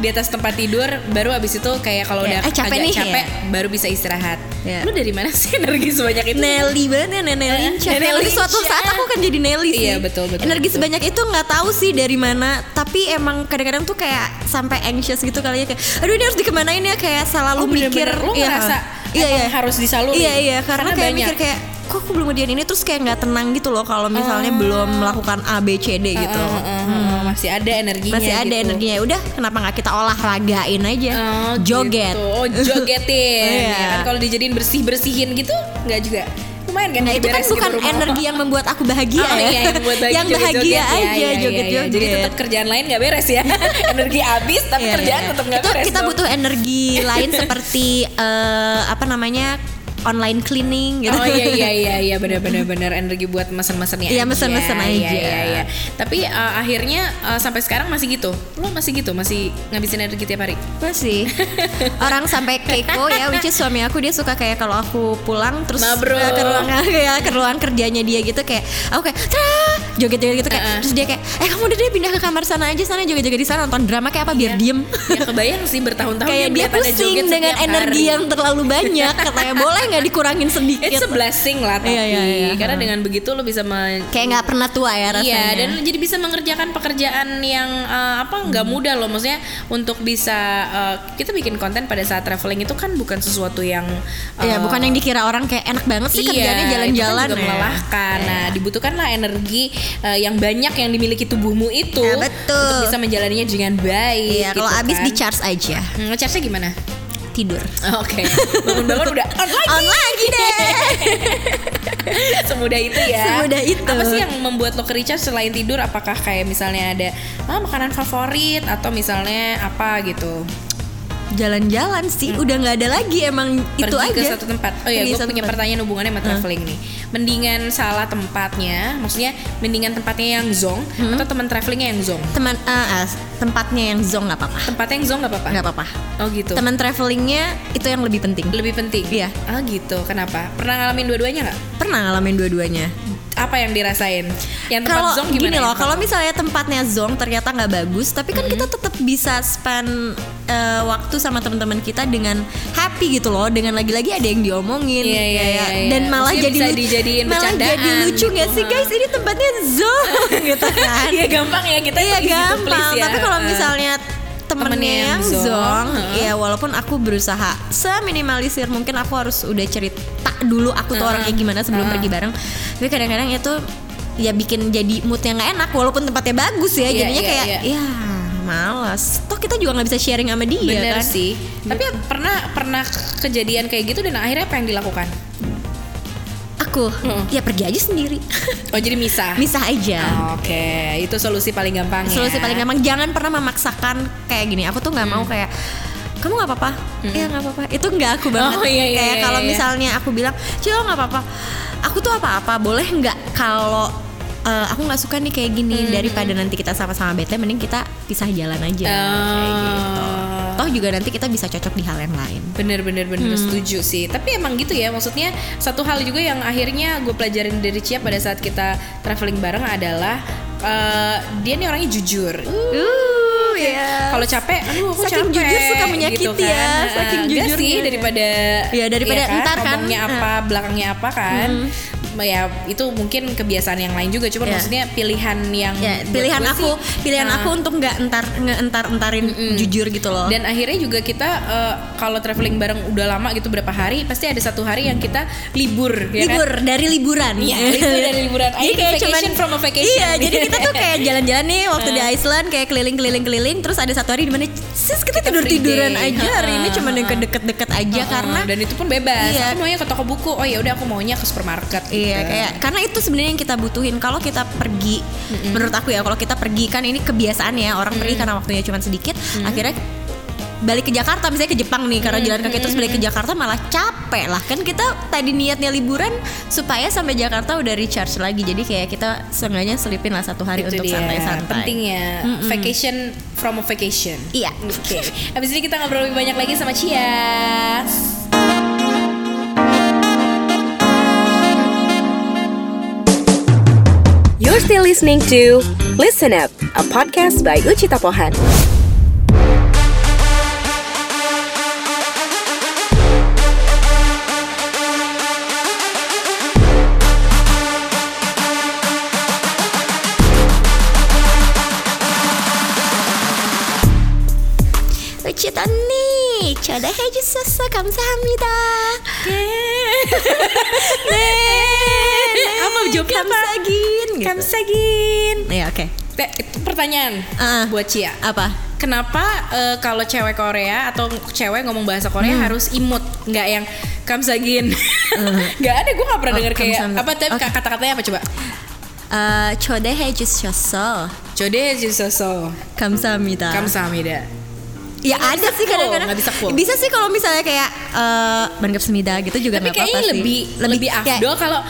Speaker 3: di atas tempat tidur. Baru abis itu kayak kalau udah
Speaker 4: Iya, eh, capek
Speaker 3: agak
Speaker 4: nih,
Speaker 3: capek,
Speaker 4: ya.
Speaker 3: baru bisa istirahat.
Speaker 4: Iya.
Speaker 3: Lu dari mana sih energi sebanyak itu?
Speaker 4: Nelly banget ya Nenek Lincah.
Speaker 3: Nenek
Speaker 4: Nanti suatu
Speaker 3: Lincah.
Speaker 4: saat aku kan jadi Nelly sih.
Speaker 3: Eh, Iya, betul, betul,
Speaker 4: Energi
Speaker 3: betul.
Speaker 4: sebanyak itu nggak tahu sih dari mana, tapi emang kadang-kadang tuh kayak sampai anxious gitu kali ya kayak aduh ini harus dikemanain ya kayak selalu
Speaker 3: Oh, bener-bener.
Speaker 4: mikir
Speaker 3: Lu ngerasa emang harus disalurin.
Speaker 4: Iya iya
Speaker 3: Karena
Speaker 4: karena, kayak
Speaker 3: banyak.
Speaker 4: mikir kayak kok aku belum ngerjain ini terus kayak nggak tenang gitu loh kalau misalnya
Speaker 3: Ah.
Speaker 4: belum melakukan A B C D gitu.
Speaker 3: Heeh, heeh, heeh, masih ada energinya.
Speaker 4: Masih ada
Speaker 3: Ah, gitu.
Speaker 4: energinya ya udah kenapa nggak kita olahragain aja
Speaker 3: Oh,
Speaker 4: joget.
Speaker 3: gitu. Oh, jogetin.
Speaker 4: Iya.
Speaker 3: ya kan? Kalau dijadiin bersih-bersihin gitu nggak juga. Lumayan kan
Speaker 4: Nah itu kan
Speaker 3: diberes gitu
Speaker 4: bukan
Speaker 3: rumah.
Speaker 4: energi yang membuat aku bahagia
Speaker 3: Oh,
Speaker 4: ya
Speaker 3: iya, yang, buat bagi
Speaker 4: Yang
Speaker 3: joget-joget.
Speaker 4: bahagia
Speaker 3: Ya,
Speaker 4: aja
Speaker 3: iya, iya, iya.
Speaker 4: joget-joget
Speaker 3: Jadi tetap kerjaan lain nggak beres ya. energi habis tapi
Speaker 4: Iya,
Speaker 3: kerjaan
Speaker 4: iya.
Speaker 3: tetap nggak
Speaker 4: Itu
Speaker 3: beres.
Speaker 4: kita
Speaker 3: dong.
Speaker 4: butuh energi lain seperti eh, apa namanya online cleaning gitu.
Speaker 3: Oh iya iya iya iya benar benar benar energi buat mesen-mesennya.
Speaker 4: Iya,
Speaker 3: aja.
Speaker 4: mesen-mesen aja.
Speaker 3: Iya iya iya. Tapi eh, akhirnya eh, sampai sekarang masih gitu. Lo masih gitu, masih ngabisin energi tiap hari.
Speaker 4: Apa sih? Orang sampai kepo ya, which is suami aku dia suka kayak kalau aku pulang terus
Speaker 3: Mabrur.
Speaker 4: eh, ke ruang ya, ke ruangan kerjanya dia gitu kayak aku kayak "Tra!" joget-joget gitu kayak
Speaker 3: Heeh.
Speaker 4: terus dia kayak eh kamu udah deh pindah ke kamar sana aja sana joget-joget di sana nonton drama kayak apa biar diem.
Speaker 3: Ya kebayang sih bertahun-tahun
Speaker 4: kayak dia
Speaker 3: dia kelihatannya joget
Speaker 4: pusing dengan
Speaker 3: setiap
Speaker 4: energi
Speaker 3: hari.
Speaker 4: yang terlalu banyak katanya boleh nggak dikurangin
Speaker 3: It's
Speaker 4: sedikit
Speaker 3: a blessing lah tapi
Speaker 4: Iya, iya, iya.
Speaker 3: karena dengan begitu lo bisa men
Speaker 4: kayak nggak pernah tua ya rasanya
Speaker 3: Iya, dan lu jadi bisa mengerjakan pekerjaan yang eh, apa nggak
Speaker 4: Hmm.
Speaker 3: mudah loh, maksudnya untuk bisa eh, kita bikin konten pada saat traveling itu kan bukan sesuatu yang eh, Iya,
Speaker 4: Iya, bukan yang dikira orang kayak enak banget sih kerjanya jalan-jalan
Speaker 3: itu kan juga
Speaker 4: ya.
Speaker 3: melelahkan. Nah, dibutuhkanlah energi eh, yang banyak yang dimiliki tubuhmu itu
Speaker 4: Ya, betul.
Speaker 3: untuk bisa menjalaninya dengan baik. gitu
Speaker 4: Iya, kalau
Speaker 3: habis
Speaker 4: abis di charge aja
Speaker 3: charge gimana?
Speaker 4: tidur.
Speaker 3: Oh, Oke, bangun-bangun udah on lagi.
Speaker 4: On lagi deh.
Speaker 3: Semudah itu ya.
Speaker 4: Semudah itu.
Speaker 3: Apa sih yang membuat lo ke recharge selain tidur? Apakah kayak misalnya ada ah, makanan favorit atau misalnya apa gitu?
Speaker 4: Jalan-jalan sih, udah nggak ada lagi emang itu
Speaker 3: Hmm. Pergi
Speaker 4: aja.
Speaker 3: ke satu tempat. Oh iya,
Speaker 4: Pergi
Speaker 3: gue
Speaker 4: satu
Speaker 3: punya
Speaker 4: tempat.
Speaker 3: pertanyaan hubungannya sama traveling nih. Mendingan salah tempatnya, maksudnya mendingan tempatnya yang zong
Speaker 4: Hmm.
Speaker 3: atau teman travelingnya yang zong?
Speaker 4: Teman eh, eh, tempatnya yang zong nggak apa-apa.
Speaker 3: Tempatnya yang zong nggak apa-apa.
Speaker 4: Nggak apa-apa.
Speaker 3: Oh gitu.
Speaker 4: Teman travelingnya itu yang lebih penting.
Speaker 3: Lebih penting.
Speaker 4: Iya.
Speaker 3: Oh gitu. Kenapa? Pernah ngalamin dua-duanya nggak?
Speaker 4: Pernah ngalamin dua-duanya.
Speaker 3: Apa yang dirasain? Yang tempat
Speaker 4: Kalau
Speaker 3: zong gimana?
Speaker 4: gini
Speaker 3: ya?
Speaker 4: loh, kalau misalnya tempatnya zong ternyata nggak bagus, tapi kan kita tetap bisa spend eh, waktu sama teman-teman kita dengan happy gitu loh, dengan lagi-lagi ada yang diomongin,
Speaker 3: Iya, iya,
Speaker 4: kayak-
Speaker 3: iya, iya.
Speaker 4: dan malah
Speaker 3: Maksudnya
Speaker 4: jadi
Speaker 3: bisa
Speaker 4: lu-
Speaker 3: dijadiin
Speaker 4: malah jadi
Speaker 3: bercandaan
Speaker 4: lucu nggak
Speaker 3: gitu,
Speaker 4: sih
Speaker 3: ha.
Speaker 4: guys? Ini tempatnya zong gitu kan?
Speaker 3: Iya gampang ya kita
Speaker 4: Iya
Speaker 3: easy to
Speaker 4: gampang.
Speaker 3: please ya.
Speaker 4: Tapi kalau
Speaker 3: Heeh.
Speaker 4: misalnya temennya
Speaker 3: Temennya
Speaker 4: yang
Speaker 3: yang
Speaker 4: zong,
Speaker 3: zong,
Speaker 4: ya walaupun aku berusaha seminimalisir mungkin aku harus udah cerita dulu aku tuh
Speaker 3: Heeh.
Speaker 4: orangnya gimana sebelum pergi bareng. Tapi kadang-kadang itu ya bikin jadi moodnya nggak enak walaupun tempatnya bagus ya
Speaker 3: Iya,
Speaker 4: jadinya
Speaker 3: iya,
Speaker 4: kayak ya malas. Toh kita juga nggak bisa sharing sama dia
Speaker 3: Bener
Speaker 4: kan.
Speaker 3: sih. Tapi pernah pernah kejadian kayak gitu dan akhirnya apa yang dilakukan?
Speaker 4: Aku ya pergi aja sendiri.
Speaker 3: Oh jadi misah.
Speaker 4: Misah aja.
Speaker 3: Oh, Oke, itu solusi paling gampang ya.
Speaker 4: solusi paling gampang jangan pernah memaksakan kayak gini aku tuh nggak
Speaker 3: Hmm.
Speaker 4: mau kayak kamu nggak apa-apa iya nggak apa-apa itu nggak aku banget
Speaker 3: Oh, iya, iya,
Speaker 4: kayak
Speaker 3: iya,
Speaker 4: kalau
Speaker 3: iya.
Speaker 4: misalnya aku bilang cilo nggak apa-apa aku tuh apa-apa boleh nggak kalau eh, aku nggak suka nih kayak
Speaker 3: Hmm.
Speaker 4: gini daripada nanti kita sama-sama bete mending kita pisah jalan
Speaker 3: Eh,
Speaker 4: aja kayak gitu
Speaker 3: Oh.
Speaker 4: toh juga nanti kita bisa cocok di hal yang lain
Speaker 3: Bener bener bener
Speaker 4: Hmm.
Speaker 3: setuju sih. Tapi emang gitu ya maksudnya satu hal juga yang akhirnya gue pelajarin dari Cia pada saat kita traveling bareng adalah eh, dia nih orangnya jujur. Oh,
Speaker 4: uh
Speaker 3: Kalau capek, aduh aku
Speaker 4: Saking
Speaker 3: capek.
Speaker 4: jujur suka menyakiti
Speaker 3: gitu kan.
Speaker 4: ya,
Speaker 3: Nah,
Speaker 4: saking
Speaker 3: enggak
Speaker 4: jujurnya.
Speaker 3: sih daripada
Speaker 4: Iya, daripada
Speaker 3: kan,
Speaker 4: ntar kan. Hmm.
Speaker 3: ngomongnya apa, belakangnya apa kan. Ya itu mungkin kebiasaan yang lain juga, cuma
Speaker 4: Iya.
Speaker 3: maksudnya pilihan yang
Speaker 4: ya
Speaker 3: buat
Speaker 4: pilihan
Speaker 3: gue
Speaker 4: aku
Speaker 3: sih,
Speaker 4: pilihan
Speaker 3: nah,
Speaker 4: aku untuk nggak entar nggak entar entarin jujur gitu loh
Speaker 3: dan ya akhirnya juga kita eh, kalau traveling bareng udah lama gitu berapa hari pasti ada satu hari yang kita libur ya kan?
Speaker 4: libur dari liburan
Speaker 3: Iya, libur dari liburan. I
Speaker 4: jadi
Speaker 3: need
Speaker 4: kayak
Speaker 3: vacation
Speaker 4: Iya, cuman-
Speaker 3: from a vacation.
Speaker 4: iya jadi kita tuh kayak jalan-jalan nih waktu di Iceland kayak keliling-keliling keliling terus ada satu hari di mana sis kita tidur tiduran
Speaker 3: free day.
Speaker 4: aja hari ini
Speaker 3: Ha, ha,
Speaker 4: cuma deket deket-deket aja karena
Speaker 3: Iya kan? dan itu pun bebas.
Speaker 4: Iya.
Speaker 3: Aku maunya ke toko buku. Oh ya udah aku maunya ke supermarket.
Speaker 4: Iya
Speaker 3: gitu.
Speaker 4: kayak karena itu sebenarnya yang kita butuhin kalau kita pergi
Speaker 3: Mm.
Speaker 4: menurut aku ya kalau kita pergi kan ini kebiasaan ya orang pergi karena waktunya cuma sedikit akhirnya balik ke Jakarta misalnya ke Jepang nih
Speaker 3: Mm,
Speaker 4: karena jalan kaki terus balik ke Jakarta malah capek lah kan kita tadi niatnya liburan supaya sampai Jakarta udah recharge lagi jadi kayak kita seenggaknya selipin lah satu hari untuk santai-santai
Speaker 3: Penting ya Vacation from a vacation
Speaker 4: iya
Speaker 3: Oke Habis ini kita ngobrol lebih banyak lagi sama Cia
Speaker 1: You're still listening to Listen Up, a podcast by Uchita Pohan.
Speaker 4: Uchita nih coba aja sasa kamsahamnida
Speaker 3: Apa joknya apa?
Speaker 4: kamsagin gitu.
Speaker 3: Kamsagin
Speaker 4: iya oke
Speaker 3: Eh, itu Pertanyaan
Speaker 4: Ah.
Speaker 3: Buat Cia
Speaker 4: apa
Speaker 3: Kenapa eh, kalau cewek Korea atau cewek ngomong bahasa Korea
Speaker 4: Hmm.
Speaker 3: harus imut, nggak yang kamsagin? Nggak ada, gue nggak pernah
Speaker 4: Oh,
Speaker 3: dengar kayak
Speaker 4: kamsam-
Speaker 3: apa tapi
Speaker 4: Oke.
Speaker 3: kata-katanya apa coba?
Speaker 4: Eh, coba aja sasa
Speaker 3: Jode jisoso,
Speaker 4: kamsahamnida
Speaker 3: kamsahamnida.
Speaker 4: Ya ada sih
Speaker 3: full,
Speaker 4: kadang-kadang
Speaker 3: nggak bisa full.
Speaker 4: Bisa sih kalau misalnya kayak eh Bangkep Semida gitu juga
Speaker 3: Tapi
Speaker 4: nggak apa-apa
Speaker 3: kayaknya
Speaker 4: sih
Speaker 3: lebih lebih
Speaker 4: kayak-
Speaker 3: afdol kalau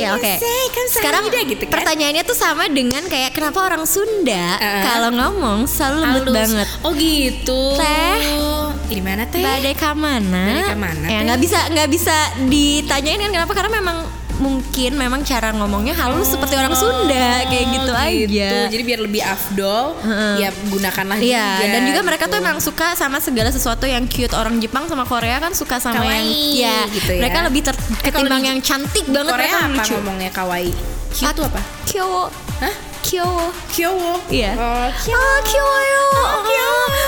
Speaker 4: Ya oke. Sekarang
Speaker 3: Sekarang gitu kan.
Speaker 4: pertanyaannya tuh sama dengan kayak kenapa orang Sunda
Speaker 3: Eh.
Speaker 4: kalau ngomong selalu lembut
Speaker 3: Halus.
Speaker 4: banget.
Speaker 3: Oh gitu.
Speaker 4: Teh.
Speaker 3: Di mana teh?
Speaker 4: Badai kamana?
Speaker 3: Badai Eh. kamana,
Speaker 4: Ya
Speaker 3: Teh?
Speaker 4: nggak bisa nggak bisa ditanyain kan kenapa karena memang mungkin memang cara ngomongnya halus seperti orang Sunda kayak gitu, aja.
Speaker 3: Oh, Jadi biar lebih afdol, ya gunakanlah
Speaker 4: Iya,
Speaker 3: juga.
Speaker 4: dan juga mereka tuh
Speaker 3: gitu.
Speaker 4: emang suka sama segala sesuatu yang cute. Orang Jepang sama Korea kan suka sama
Speaker 3: Kawaii,
Speaker 4: yang iya,
Speaker 3: gitu ya.
Speaker 4: Mereka lebih ter- ketimbang
Speaker 3: di
Speaker 4: yang cantik banget
Speaker 3: Korea
Speaker 4: mereka
Speaker 3: apa
Speaker 4: lucu.
Speaker 3: ngomongnya kawaii? Cute tuh apa?
Speaker 4: Kyowo.
Speaker 3: Hah?
Speaker 4: Kyowo.
Speaker 3: Kyowo.
Speaker 4: Iya.
Speaker 3: Oh, kyo-
Speaker 4: Ah, kyowo yo.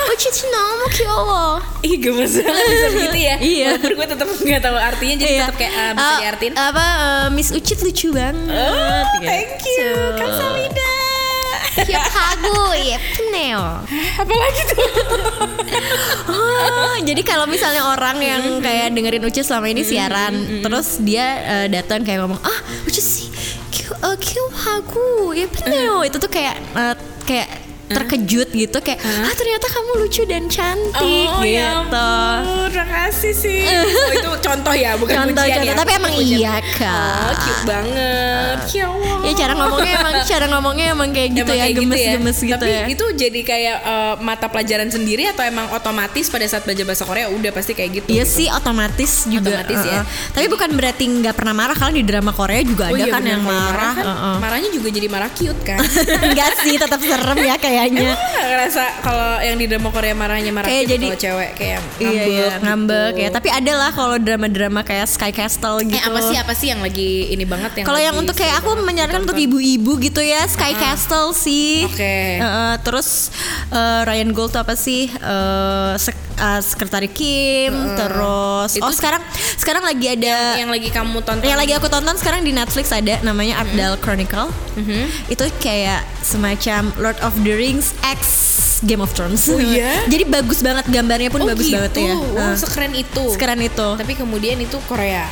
Speaker 4: Oh, cici nama kyowo.
Speaker 3: Ih, gemes banget bisa begitu ya.
Speaker 4: Iya.
Speaker 3: Walaupun gue tetap nggak tahu artinya, jadi
Speaker 4: Iya.
Speaker 3: tetap kayak ah, bisa
Speaker 4: Ah,
Speaker 3: diartiin.
Speaker 4: Apa eh, Miss Ucit lucu banget.
Speaker 3: oh,
Speaker 4: iya.
Speaker 3: thank you.
Speaker 4: So-
Speaker 3: Kamsahamnida.
Speaker 4: Tiap hago ya Neo.
Speaker 3: Apalagi tuh?
Speaker 4: Oh, jadi kalau misalnya orang yang
Speaker 3: Hmm.
Speaker 4: kayak dengerin Uci selama ini
Speaker 3: Mm-hmm.
Speaker 4: siaran, terus dia eh, datang kayak ngomong, "Ah, Uci sih Q uh, hagu, ya bener." Itu tuh kayak eh, kayak terkejut gitu kayak, "Ah, ternyata kamu lucu dan
Speaker 3: Eh.
Speaker 4: cantik."
Speaker 3: Oh,
Speaker 4: gitu.
Speaker 3: ya ampun. Makasih sih. Oh, itu contoh ya, bukan
Speaker 4: Contoh,
Speaker 3: pujian
Speaker 4: contoh.
Speaker 3: ya.
Speaker 4: Tapi emang
Speaker 3: Bukan pujian.
Speaker 4: iya, Kak.
Speaker 3: Oh, cute banget. Kyowo.
Speaker 4: Ya cara ngomongnya emang cara ngomongnya emang kayak gitu
Speaker 3: Emang
Speaker 4: ya,
Speaker 3: kayak
Speaker 4: gemes-gemes gitu,
Speaker 3: Tapi
Speaker 4: ya.
Speaker 3: itu jadi kayak eh, mata pelajaran sendiri atau emang otomatis pada saat belajar bahasa Korea udah pasti kayak gitu?
Speaker 4: Iya sih otomatis juga.
Speaker 3: Otomatis ya.
Speaker 4: eh, eh. Tapi bukan berarti nggak pernah marah kalau di drama Korea juga
Speaker 3: Oh
Speaker 4: ada
Speaker 3: iya,
Speaker 4: kan
Speaker 3: bener.
Speaker 4: yang
Speaker 3: Kalau
Speaker 4: marah.
Speaker 3: kan,
Speaker 4: eh, eh.
Speaker 3: Marahnya juga jadi marah cute kan?
Speaker 4: Enggak sih, tetap serem ya kayaknya.
Speaker 3: Emang nggak ngerasa kalau yang di drama Korea marahnya marah
Speaker 4: Kayak
Speaker 3: cute
Speaker 4: jadi-
Speaker 3: kalau cewek kayak ngambek
Speaker 4: Iya, iya,
Speaker 3: gitu.
Speaker 4: ngambek ya. Tapi ada lah kalau drama-drama kayak Sky Castle gitu.
Speaker 3: Eh apa sih apa sih yang lagi ini banget yang
Speaker 4: Kalau yang
Speaker 3: lagi
Speaker 4: untuk kayak
Speaker 3: seru
Speaker 4: aku
Speaker 3: banget
Speaker 4: menyarankan untuk
Speaker 3: ditonton?
Speaker 4: ibu-ibu gitu ya Sky Castle sih.
Speaker 3: Oke.
Speaker 4: Heeh, terus eh, Ryan Gold tuh apa sih? Eh, sek- eh, Sekretari Kim. Terus
Speaker 3: Itu-
Speaker 4: oh sekarang sekarang lagi ada yang,
Speaker 3: yang Hmm. lagi kamu tonton
Speaker 4: lagi aku tonton sekarang di Netflix ada namanya Abdal Chronicle.
Speaker 3: Mhm.
Speaker 4: Itu kayak semacam Lord of the Rings X Game of Thrones.
Speaker 3: Oh iya?
Speaker 4: Jadi bagus banget gambarnya
Speaker 3: Oh
Speaker 4: pun bagus
Speaker 3: gitu.
Speaker 4: banget ya.
Speaker 3: Wow,
Speaker 4: Heeh.
Speaker 3: sekeren itu.
Speaker 4: Sekeren itu.
Speaker 3: Tapi kemudian itu Korea.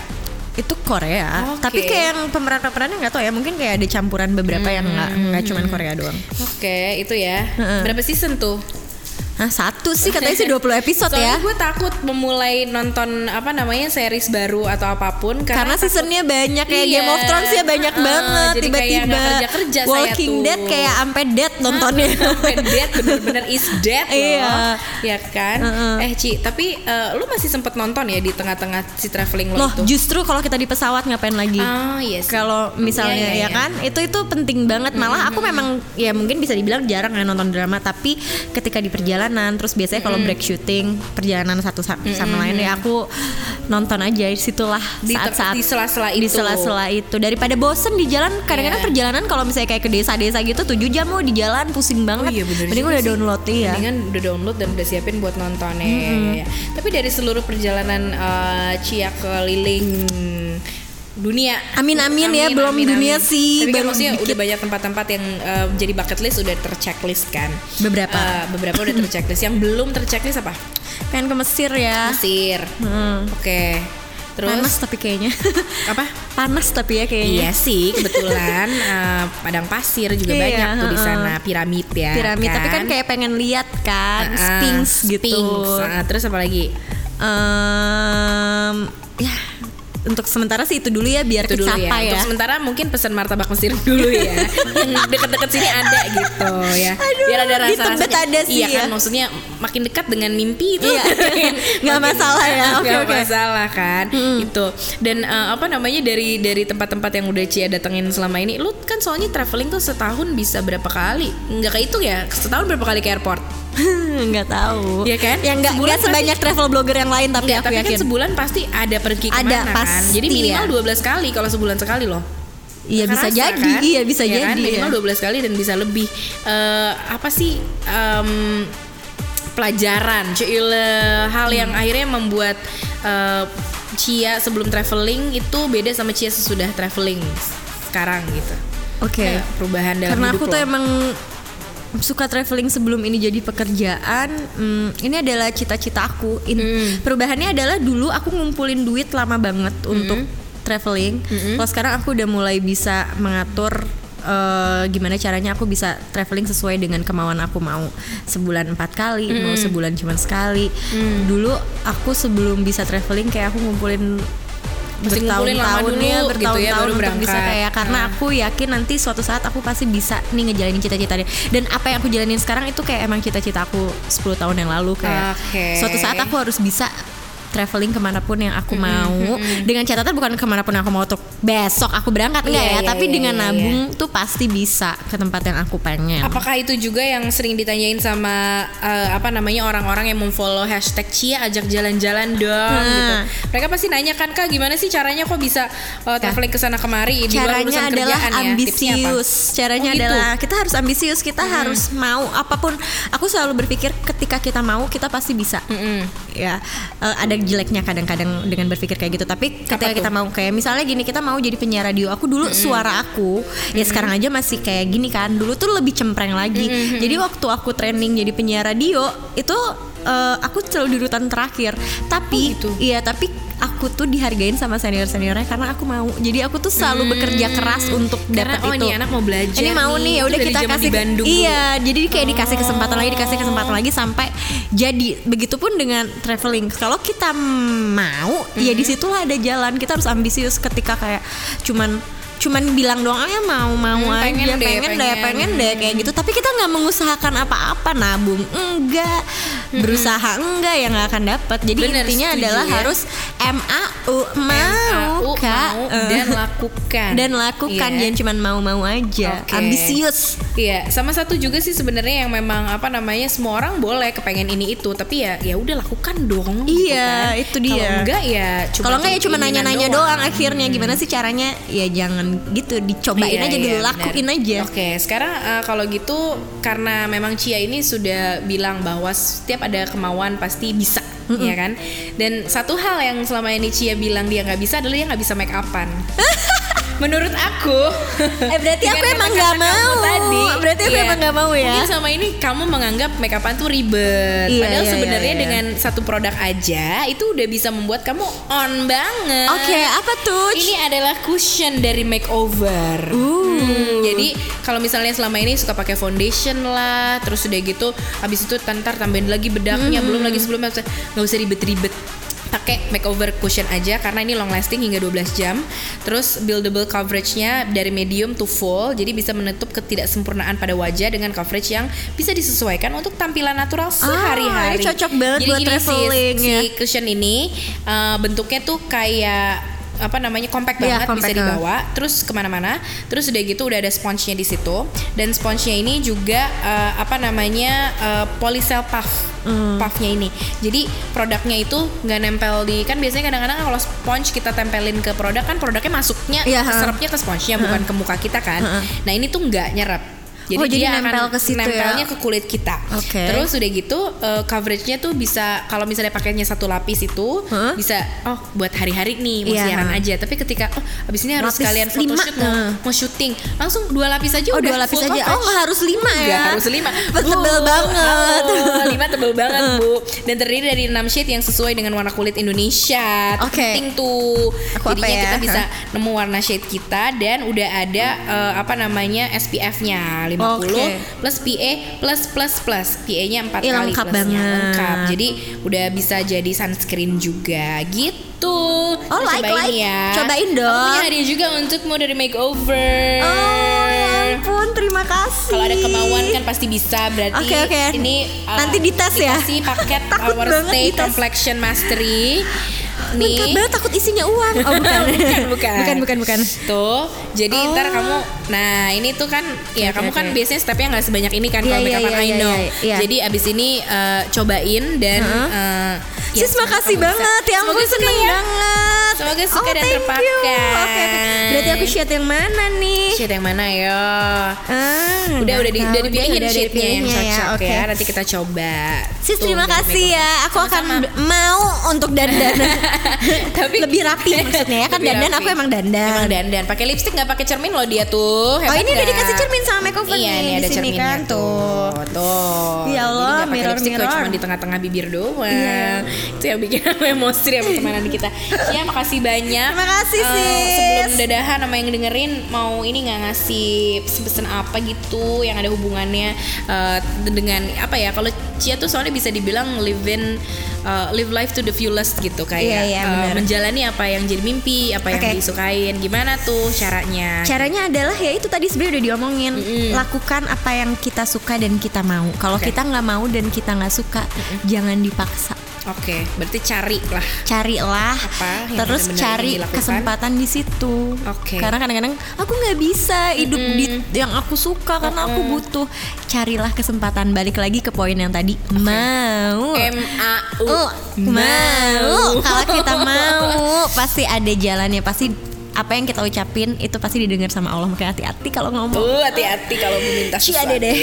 Speaker 4: itu Korea
Speaker 3: Oke.
Speaker 4: tapi kayak yang pemeran-pemerannya nggak tau ya mungkin kayak ada campuran beberapa yang nggak nggak cuman Korea doang
Speaker 3: Oke, itu ya.
Speaker 4: Heeh.
Speaker 3: Berapa season tuh?
Speaker 4: Hah, Nah, satu sih katanya sih 20 episode
Speaker 3: Soalnya
Speaker 4: ya
Speaker 3: gue takut memulai nonton apa namanya series baru atau apapun
Speaker 4: karena
Speaker 3: karena,
Speaker 4: seasonnya banyak kayak
Speaker 3: Iya.
Speaker 4: Game of Thrones ya banyak
Speaker 3: Heeh,
Speaker 4: banget
Speaker 3: jadi kayak
Speaker 4: tiba-tiba
Speaker 3: nggak kerja-kerja saya
Speaker 4: Walking
Speaker 3: tuh.
Speaker 4: Dead kayak ampe dead nontonnya
Speaker 3: Ah, sampai dead bener-bener is dead loh.
Speaker 4: Iya.
Speaker 3: Ya kan?
Speaker 4: Heeh.
Speaker 3: Eh, Ci, tapi eh, lu masih sempet nonton ya di tengah-tengah si traveling lo
Speaker 4: loh
Speaker 3: itu?
Speaker 4: justru kalau kita di pesawat ngapain lagi
Speaker 3: Ah, yes.
Speaker 4: kalau misalnya
Speaker 3: Iya, iya, iya.
Speaker 4: ya kan itu itu penting banget malah aku memang ya mungkin bisa dibilang jarang ya nonton drama tapi ketika di perjalanan terus biasanya kalau break syuting perjalanan satu sa- sama lain ya aku nonton aja disitulah
Speaker 3: Di te-
Speaker 4: saat-saat
Speaker 3: di sela-sela
Speaker 4: di
Speaker 3: itu.
Speaker 4: sela-sela itu daripada bosen di jalan kadang-kadang
Speaker 3: Iya.
Speaker 4: perjalanan kalau misalnya kayak ke desa-desa gitu 7 jam mau di jalan pusing
Speaker 3: iya,
Speaker 4: banget
Speaker 3: bener
Speaker 4: mending
Speaker 3: juga
Speaker 4: udah
Speaker 3: sih.
Speaker 4: download ya
Speaker 3: Mendingan udah download dan udah siapin buat nonton ya. Tapi dari seluruh perjalanan eh, Cia keliling dunia.
Speaker 4: Amin, amin ya, belum dunia sih,
Speaker 3: Tapi kan
Speaker 4: baru
Speaker 3: maksudnya
Speaker 4: dikit.
Speaker 3: udah banyak tempat-tempat yang eh, jadi bucket list udah terchecklist kan.
Speaker 4: Beberapa.
Speaker 3: Eh, beberapa udah terchecklist. Yang belum terchecklist apa?
Speaker 4: pengen ke Mesir ya
Speaker 3: Mesir.
Speaker 4: Hmm.
Speaker 3: Oke. Terus
Speaker 4: panas tapi kayaknya
Speaker 3: apa?
Speaker 4: panas tapi ya
Speaker 3: Iya
Speaker 4: kayaknya
Speaker 3: sih, kebetulan eh, padang pasir juga
Speaker 4: Iya,
Speaker 3: banyak tuh di
Speaker 4: heeh.
Speaker 3: sana piramid ya.
Speaker 4: piramid tapi kan kayak pengen lihat kan
Speaker 3: Heeh,
Speaker 4: sphinx gitu
Speaker 3: Sphinx. Heeh, terus apa lagi?
Speaker 4: Em, ya untuk sementara sih itu dulu ya biar
Speaker 3: Itu dulu ya.
Speaker 4: kecapai ya,
Speaker 3: Untuk sementara mungkin pesan martabak Mesir dulu ya. Yang Deket-deket sini ada gitu ya.
Speaker 4: Aduh,
Speaker 3: Biar ada
Speaker 4: di
Speaker 3: rasa-rasanya.
Speaker 4: Tebet ada sih
Speaker 3: Iya
Speaker 4: ya.
Speaker 3: kan maksudnya makin dekat dengan mimpi itu.
Speaker 4: Iya. Nggak
Speaker 3: makin-
Speaker 4: masalah ya. Oke,
Speaker 3: Nggak
Speaker 4: oke. Hmm.
Speaker 3: masalah kan. Itu. Dan eh, apa namanya dari dari tempat-tempat yang udah Cia datengin selama ini, lu kan soalnya traveling tuh setahun bisa berapa kali? Nggak kehitung ya. Setahun berapa kali ke airport?
Speaker 4: nggak tahu
Speaker 3: Iya kan?
Speaker 4: yang
Speaker 3: Sebulan
Speaker 4: nggak nggak
Speaker 3: pasti-
Speaker 4: sebanyak travel blogger yang lain tapi
Speaker 3: Nggak,
Speaker 4: Iya, aku
Speaker 3: tapi
Speaker 4: yakin
Speaker 3: kan sebulan pasti ada pergi
Speaker 4: Ada,
Speaker 3: kemana kan. Jadi
Speaker 4: pasti
Speaker 3: minimal
Speaker 4: ya.
Speaker 3: 12 kali kalau sebulan sekali loh.
Speaker 4: iya bisa
Speaker 3: Kerasa,
Speaker 4: jadi
Speaker 3: kan?
Speaker 4: iya bisa
Speaker 3: Ya kan?
Speaker 4: jadi ya.
Speaker 3: minimal 12 kali dan bisa lebih Eh, apa sih em, pelajaran Cile, hal yang
Speaker 4: Hmm.
Speaker 3: akhirnya membuat eh, Cia sebelum traveling itu beda sama Cia sesudah traveling sekarang gitu
Speaker 4: oke
Speaker 3: Kayak perubahan dalam
Speaker 4: karena
Speaker 3: hidup
Speaker 4: aku tuh
Speaker 3: lo.
Speaker 4: emang suka traveling sebelum ini jadi pekerjaan hmm, ini adalah cita-cita aku In-
Speaker 3: Mm.
Speaker 4: perubahannya adalah dulu aku ngumpulin duit lama banget
Speaker 3: Mm.
Speaker 4: untuk traveling kalau sekarang aku udah mulai bisa mengatur eh, gimana caranya aku bisa traveling sesuai dengan kemauan aku mau sebulan empat kali
Speaker 3: Mm.
Speaker 4: mau sebulan cuma sekali dulu aku sebelum bisa traveling kayak aku ngumpulin
Speaker 3: Mesti ngumpulin lama
Speaker 4: bertahun-tahun
Speaker 3: dulu gitu
Speaker 4: ya
Speaker 3: ya,
Speaker 4: bertahun-tahun
Speaker 3: baru
Speaker 4: untuk bisa
Speaker 3: berangkat.
Speaker 4: kayak karena
Speaker 3: Hmm.
Speaker 4: aku yakin nanti suatu saat aku pasti bisa nih ngejalanin cita-citanya dan apa yang aku jalanin sekarang itu kayak emang cita-cita aku 10 tahun yang lalu kayak
Speaker 3: Oke.
Speaker 4: suatu saat aku harus bisa traveling kemanapun yang
Speaker 3: Hmm,
Speaker 4: aku mau dengan catatan bukan kemanapun yang aku mau tuh besok aku berangkat enggak
Speaker 3: Iya,
Speaker 4: ya
Speaker 3: iya,
Speaker 4: tapi
Speaker 3: iya,
Speaker 4: dengan
Speaker 3: iya,
Speaker 4: nabung tuh pasti bisa ke tempat yang aku pengen
Speaker 3: Apakah itu juga yang sering ditanyain sama eh, apa namanya orang-orang yang memfollow hashtag Cia ajak jalan-jalan dong
Speaker 4: Nah.
Speaker 3: gitu. Mereka pasti nanya kan kak gimana sih caranya kok bisa eh, traveling ke sana kemari di luar urusan
Speaker 4: caranya adalah
Speaker 3: kerjaan ya? Tipsnya apa?
Speaker 4: ambisius caranya
Speaker 3: Oh, gitu?
Speaker 4: adalah kita harus ambisius kita harus mau apapun aku selalu berpikir ketika kita mau kita pasti bisa
Speaker 3: Mm-mm.
Speaker 4: ya eh, ada jeleknya kadang-kadang dengan berpikir kayak gitu tapi ketika
Speaker 3: Apa tuh?
Speaker 4: kita mau kayak misalnya gini kita mau jadi penyiar radio aku dulu suara aku ya sekarang aja masih kayak gini kan dulu tuh lebih cempreng lagi jadi waktu aku training jadi penyiar radio itu eh, aku selalu di urutan terakhir tapi
Speaker 3: Oh, gitu.
Speaker 4: iya tapi aku tuh dihargain sama senior seniornya karena aku mau jadi aku tuh selalu bekerja keras untuk
Speaker 3: Hmm. Karena,
Speaker 4: dapat
Speaker 3: oh,
Speaker 4: itu
Speaker 3: ini anak mau belajar
Speaker 4: ini mau
Speaker 3: nih.
Speaker 4: nih ya
Speaker 3: Itu
Speaker 4: udah
Speaker 3: dari
Speaker 4: kita
Speaker 3: zaman di
Speaker 4: kasih
Speaker 3: Bandung dulu. Oh.
Speaker 4: iya jadi kayak dikasih kesempatan lagi dikasih kesempatan lagi sampai jadi begitupun dengan traveling kalau kita mau
Speaker 3: Mm-hmm.
Speaker 4: ya disitulah ada jalan kita harus ambisius ketika kayak cuman cuman bilang doang ya mau mau
Speaker 3: Hmm, pengen
Speaker 4: aja
Speaker 3: deh,
Speaker 4: pengen deh
Speaker 3: pengen."
Speaker 4: pengen deh kayak gitu tapi kita nggak mengusahakan apa-apa nabung enggak berusaha enggak ya nggak akan dapat jadi
Speaker 3: Bener,
Speaker 4: intinya
Speaker 3: setuju
Speaker 4: adalah
Speaker 3: ya.
Speaker 4: harus M A U mau
Speaker 3: Aku
Speaker 4: kak
Speaker 3: mau
Speaker 4: Eh.
Speaker 3: dan lakukan.
Speaker 4: dan lakukan
Speaker 3: Iya.
Speaker 4: jangan cuman mau-mau aja
Speaker 3: Oke.
Speaker 4: Ya, ambisius
Speaker 3: Iya, sama satu juga sih sebenarnya yang memang apa namanya semua orang boleh kepengen ini itu, tapi ya ya udah lakukan dong. gitu
Speaker 4: Iya,
Speaker 3: kan.
Speaker 4: itu dia.
Speaker 3: Kalau enggak ya cuma
Speaker 4: Kalau nggak ya cuma
Speaker 3: keinginan
Speaker 4: nanya-nanya doang, akhirnya gimana sih caranya? Ya jangan gitu, dicobain
Speaker 3: Iya,
Speaker 4: aja
Speaker 3: iya,
Speaker 4: dulu,
Speaker 3: benar.
Speaker 4: lakuin aja.
Speaker 3: Oke, sekarang eh, kalau gitu karena memang Cia ini sudah bilang bahwa setiap ada kemauan pasti bisa, ya kan? Dan satu hal yang selama ini Cia bilang dia nggak bisa adalah dia nggak bisa make upan. Menurut aku,
Speaker 4: Eh berarti
Speaker 3: dengan
Speaker 4: aku emang nggak
Speaker 3: kata-kata
Speaker 4: mau.
Speaker 3: kamu tadi,
Speaker 4: berarti aku
Speaker 3: iya,
Speaker 4: emang nggak mau ya.
Speaker 3: Mungkin selama ini kamu menganggap make upan tuh ribet.
Speaker 4: Iya,
Speaker 3: Padahal
Speaker 4: iya,
Speaker 3: sebenarnya
Speaker 4: iya, iya.
Speaker 3: dengan satu produk aja itu udah bisa membuat kamu on banget.
Speaker 4: Oke, apa tuh?
Speaker 3: Ini adalah cushion dari makeover. Hmm, jadi kalau misalnya selama ini suka pakai foundation lah, terus udah gitu, habis itu tentar tambahin lagi
Speaker 4: Hmm.
Speaker 3: bedaknya, belum lagi sebelumnya nggak usah ribet-ribet pakai makeover cushion aja karena ini long lasting hingga 12 jam. Terus buildable coverage-nya dari medium to full, jadi bisa menutup ketidaksempurnaan pada wajah dengan coverage yang bisa disesuaikan untuk tampilan natural sehari-hari.
Speaker 4: Ah, ini cocok banget
Speaker 3: Jadi
Speaker 4: buat
Speaker 3: gini, sis,
Speaker 4: traveling,
Speaker 3: si
Speaker 4: ya.
Speaker 3: cushion ini uh, bentuknya tuh kayak apa namanya compact
Speaker 4: Iya,
Speaker 3: banget
Speaker 4: compact,
Speaker 3: bisa dibawa terus kemana-mana terus udah gitu udah ada sponge-nya di situ dan sponge-nya ini juga uh, apa namanya uh, polycell puff
Speaker 4: Hmm.
Speaker 3: puffnya ini jadi produknya itu nggak nempel di kan biasanya kadang-kadang kalau sponge kita tempelin ke produk kan produknya masuknya
Speaker 4: Iya,
Speaker 3: ke
Speaker 4: ha.
Speaker 3: serepnya ke sponge-nya bukan ke muka kita kan nah ini tuh nggak nyerap
Speaker 4: Oh, jadi nempel ke situ ya?
Speaker 3: nempelnya ke kulit kita.
Speaker 4: Oke.
Speaker 3: Terus udah gitu eh, coveragenya tuh bisa kalau misalnya pakainya satu lapis itu
Speaker 4: Hah?
Speaker 3: bisa oh buat hari-hari nih mau
Speaker 4: Iya.
Speaker 3: siaran aja. Tapi ketika oh abis ini harus
Speaker 4: Lapis
Speaker 3: kalian
Speaker 4: lima,
Speaker 3: photoshoot mau,
Speaker 4: nah.
Speaker 3: mau syuting langsung dua lapis aja
Speaker 4: Oh
Speaker 3: udah
Speaker 4: dua lapis
Speaker 3: full
Speaker 4: aja. Oh
Speaker 3: coverage.
Speaker 4: nggak harus lima ya?
Speaker 3: Nggak Iya, harus lima.
Speaker 4: Bet- Tebel
Speaker 3: Bu,
Speaker 4: banget.
Speaker 3: halo, lima tebel banget bu. Dan terdiri dari 6 shade yang sesuai dengan warna kulit Indonesia. Itu
Speaker 4: Oke.
Speaker 3: Penting tuh.
Speaker 4: Aku apa
Speaker 3: Jadinya
Speaker 4: ya?
Speaker 3: kita bisa nemu warna shade kita dan udah ada eh, apa namanya SPF-nya 50
Speaker 4: Oke.
Speaker 3: plus PA plus plus plus PA-nya 4
Speaker 4: Ih,
Speaker 3: kali
Speaker 4: lengkap
Speaker 3: plusnya.
Speaker 4: banget.
Speaker 3: Lengkap. Jadi udah bisa jadi sunscreen juga gitu.
Speaker 4: Oh, like,
Speaker 3: cobain
Speaker 4: like.
Speaker 3: ya.
Speaker 4: Cobain
Speaker 3: Aku punya
Speaker 4: dong.
Speaker 3: hadiah juga untukmu dari makeover.
Speaker 4: Oh ya ampun terima kasih.
Speaker 3: Eh, Kalau ada kemauan kan pasti bisa. Berarti
Speaker 4: Oke, oke.
Speaker 3: ini uh,
Speaker 4: Nanti dites ya?
Speaker 3: dikasih paket
Speaker 4: Takut
Speaker 3: Our
Speaker 4: banget
Speaker 3: Stay
Speaker 4: dites.
Speaker 3: Complexion Mastery.
Speaker 4: Lengkap
Speaker 3: Nih. Nah,
Speaker 4: banget takut isinya uang. Oh bukan.
Speaker 3: bukan, bukan.
Speaker 4: bukan, bukan, bukan.
Speaker 3: Tuh, jadi
Speaker 4: Oh.
Speaker 3: ntar kamu, nah ini tuh kan, ya
Speaker 4: Oke,
Speaker 3: kamu
Speaker 4: oke,
Speaker 3: kan
Speaker 4: oke.
Speaker 3: biasanya stepnya nggak sebanyak ini kan
Speaker 4: Iya,
Speaker 3: kalau
Speaker 4: iya,
Speaker 3: makeup
Speaker 4: iya,
Speaker 3: I
Speaker 4: iya,
Speaker 3: know.
Speaker 4: iya, iya.
Speaker 3: Jadi abis ini eh, cobain dan.
Speaker 4: Heeh.
Speaker 3: eh, ya,
Speaker 4: Sis makasih
Speaker 3: semoga kamu
Speaker 4: banget
Speaker 3: bisa.
Speaker 4: ya ampun
Speaker 3: Semoga suka
Speaker 4: seneng
Speaker 3: ya.
Speaker 4: banget.
Speaker 3: Semoga suka
Speaker 4: oh,
Speaker 3: dan
Speaker 4: thank you.
Speaker 3: terpakai.
Speaker 4: Oke, oke. Berarti aku shade yang mana nih?
Speaker 3: Shade yang mana ya?
Speaker 4: Ah,
Speaker 3: Udah
Speaker 4: nggak
Speaker 3: udah di,
Speaker 4: tahu
Speaker 3: udah
Speaker 4: deh,
Speaker 3: dipilihin
Speaker 4: udah
Speaker 3: shade-nya yang
Speaker 4: dipilihinnya
Speaker 3: cocok ya,
Speaker 4: oke.
Speaker 3: Nanti kita coba.
Speaker 4: Sis
Speaker 3: Tuh, gitu.
Speaker 4: terima
Speaker 3: dari
Speaker 4: kasih
Speaker 3: Mega.
Speaker 4: ya. Aku akan b- mau untuk dandan.
Speaker 3: Tapi
Speaker 4: lebih rapi maksudnya ya kan
Speaker 3: Lebih
Speaker 4: dandan
Speaker 3: rapi.
Speaker 4: aku emang dandan.
Speaker 3: Gitu Emang dandan. Pakai lipstick nggak pakai cermin loh dia tuh.
Speaker 4: Oh
Speaker 3: Hebat
Speaker 4: ini udah
Speaker 3: nggak?
Speaker 4: dikasih cermin sama makeover
Speaker 3: Iya,
Speaker 4: nih
Speaker 3: nih ada
Speaker 4: di sini
Speaker 3: cerminnya
Speaker 4: kan tuh.
Speaker 3: Tuh.
Speaker 4: Ya
Speaker 3: Jadi
Speaker 4: Allah,
Speaker 3: nggak pakai
Speaker 4: mirror,
Speaker 3: lipstick tuh,
Speaker 4: mirror. Iya.
Speaker 3: Cuma di tengah-tengah bibir doang. Itu yang bikin aku emosi deh sama temanan kita. Ya, makasih banyak.
Speaker 4: Terima kasih,
Speaker 3: Eh,
Speaker 4: sis.
Speaker 3: sebelum dadahan sama yang dengerin mau ini nggak ngasih pesen apa gitu yang ada hubungannya eh, dengan apa ya? Kalau Cia tuh soalnya bisa dibilang live in eh, live life to the fullest gitu kayak
Speaker 4: Iya, iya,
Speaker 3: eh,
Speaker 4: benar.
Speaker 3: menjalani apa yang jadi mimpi, apa
Speaker 4: Oke.
Speaker 3: yang disukain, gimana tuh caranya?
Speaker 4: Caranya adalah ya itu tadi sebenarnya udah diomongin
Speaker 3: Mm-mm.
Speaker 4: lakukan apa yang kita suka dan kita mau. Kalau
Speaker 3: Mm-hmm. Oke. Mm-hmm.
Speaker 4: kita nggak mau dan kita nggak suka, jangan dipaksa.
Speaker 3: Oke, berarti cari lah.
Speaker 4: Carilah,
Speaker 3: Apa yang
Speaker 4: Ah, terus
Speaker 3: benar-benar
Speaker 4: cari
Speaker 3: ingin dilakukan?
Speaker 4: kesempatan di situ.
Speaker 3: Oke.
Speaker 4: Karena kadang-kadang aku nggak bisa hidup di yang aku suka karena aku butuh. Carilah kesempatan balik lagi ke poin yang tadi mau.
Speaker 3: M A U
Speaker 4: Oh, mau kalau kita mau pasti ada jalannya pasti apa yang kita ucapin itu pasti didengar sama Allah makanya hati-hati kalau ngomong
Speaker 3: Tuh Uh, hati-hati kalau meminta
Speaker 4: Ci
Speaker 3: sesuatu. ya.
Speaker 4: ada deh.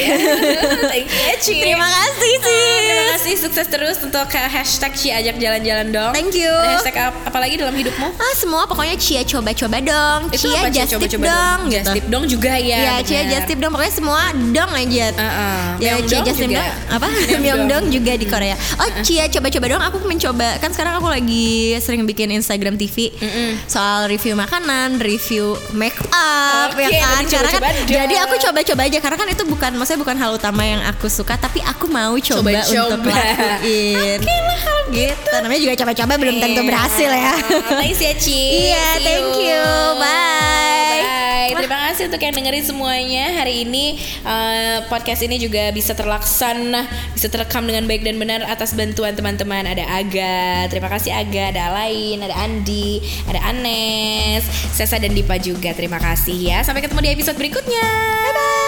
Speaker 3: Thank you, Ci.
Speaker 4: terima kasih
Speaker 3: Terima
Speaker 4: sih
Speaker 3: kasih sukses terus untuk ke hashtag Ci ajak jalan-jalan dong.
Speaker 4: Thank you.
Speaker 3: Ada Hashtag ap- apalagi dalam hidupmu?
Speaker 4: ah semua pokoknya Cia coba-coba dong
Speaker 3: Itu
Speaker 4: Cia
Speaker 3: apa, Ci?
Speaker 4: just tip
Speaker 3: Coba-coba
Speaker 4: dong
Speaker 3: dong.
Speaker 4: gitu.
Speaker 3: Just tip dong juga ya.
Speaker 4: ya Cia
Speaker 3: benar.
Speaker 4: just tip dong pokoknya semua dong aja
Speaker 3: Uh-uh.
Speaker 4: Ya,
Speaker 3: Myeong
Speaker 4: Cia
Speaker 3: dong
Speaker 4: just tip
Speaker 3: juga.
Speaker 4: dong apa
Speaker 3: Myeong dong.
Speaker 4: Myeongdong juga di Korea oh Cia coba-coba dong aku mencoba kan sekarang aku lagi sering bikin Instagram TV soal review makanan review make up
Speaker 3: Oke,
Speaker 4: ya kan
Speaker 3: berarti
Speaker 4: karena kan
Speaker 3: coba-coba dong.
Speaker 4: jadi aku coba-coba aja karena kan itu bukan maksudnya bukan hal utama yang aku suka tapi aku mau coba, untuk
Speaker 3: Coba-coba.
Speaker 4: lakuin Oke lah kalau gitu namanya juga coba-coba belum tentu berhasil ya
Speaker 3: Thanks ya Ci.
Speaker 4: Iya,
Speaker 3: See
Speaker 4: thank you. Bye.
Speaker 3: Bye. Terima kasih untuk yang dengerin semuanya hari ini eh, podcast ini juga bisa terlaksana, bisa terekam dengan baik dan benar atas bantuan teman-teman. Ada Aga, terima kasih Aga, ada Alain, ada Andi, ada Anes, Sesa dan Dipa juga. Terima kasih ya. Sampai ketemu di episode berikutnya. Bye bye.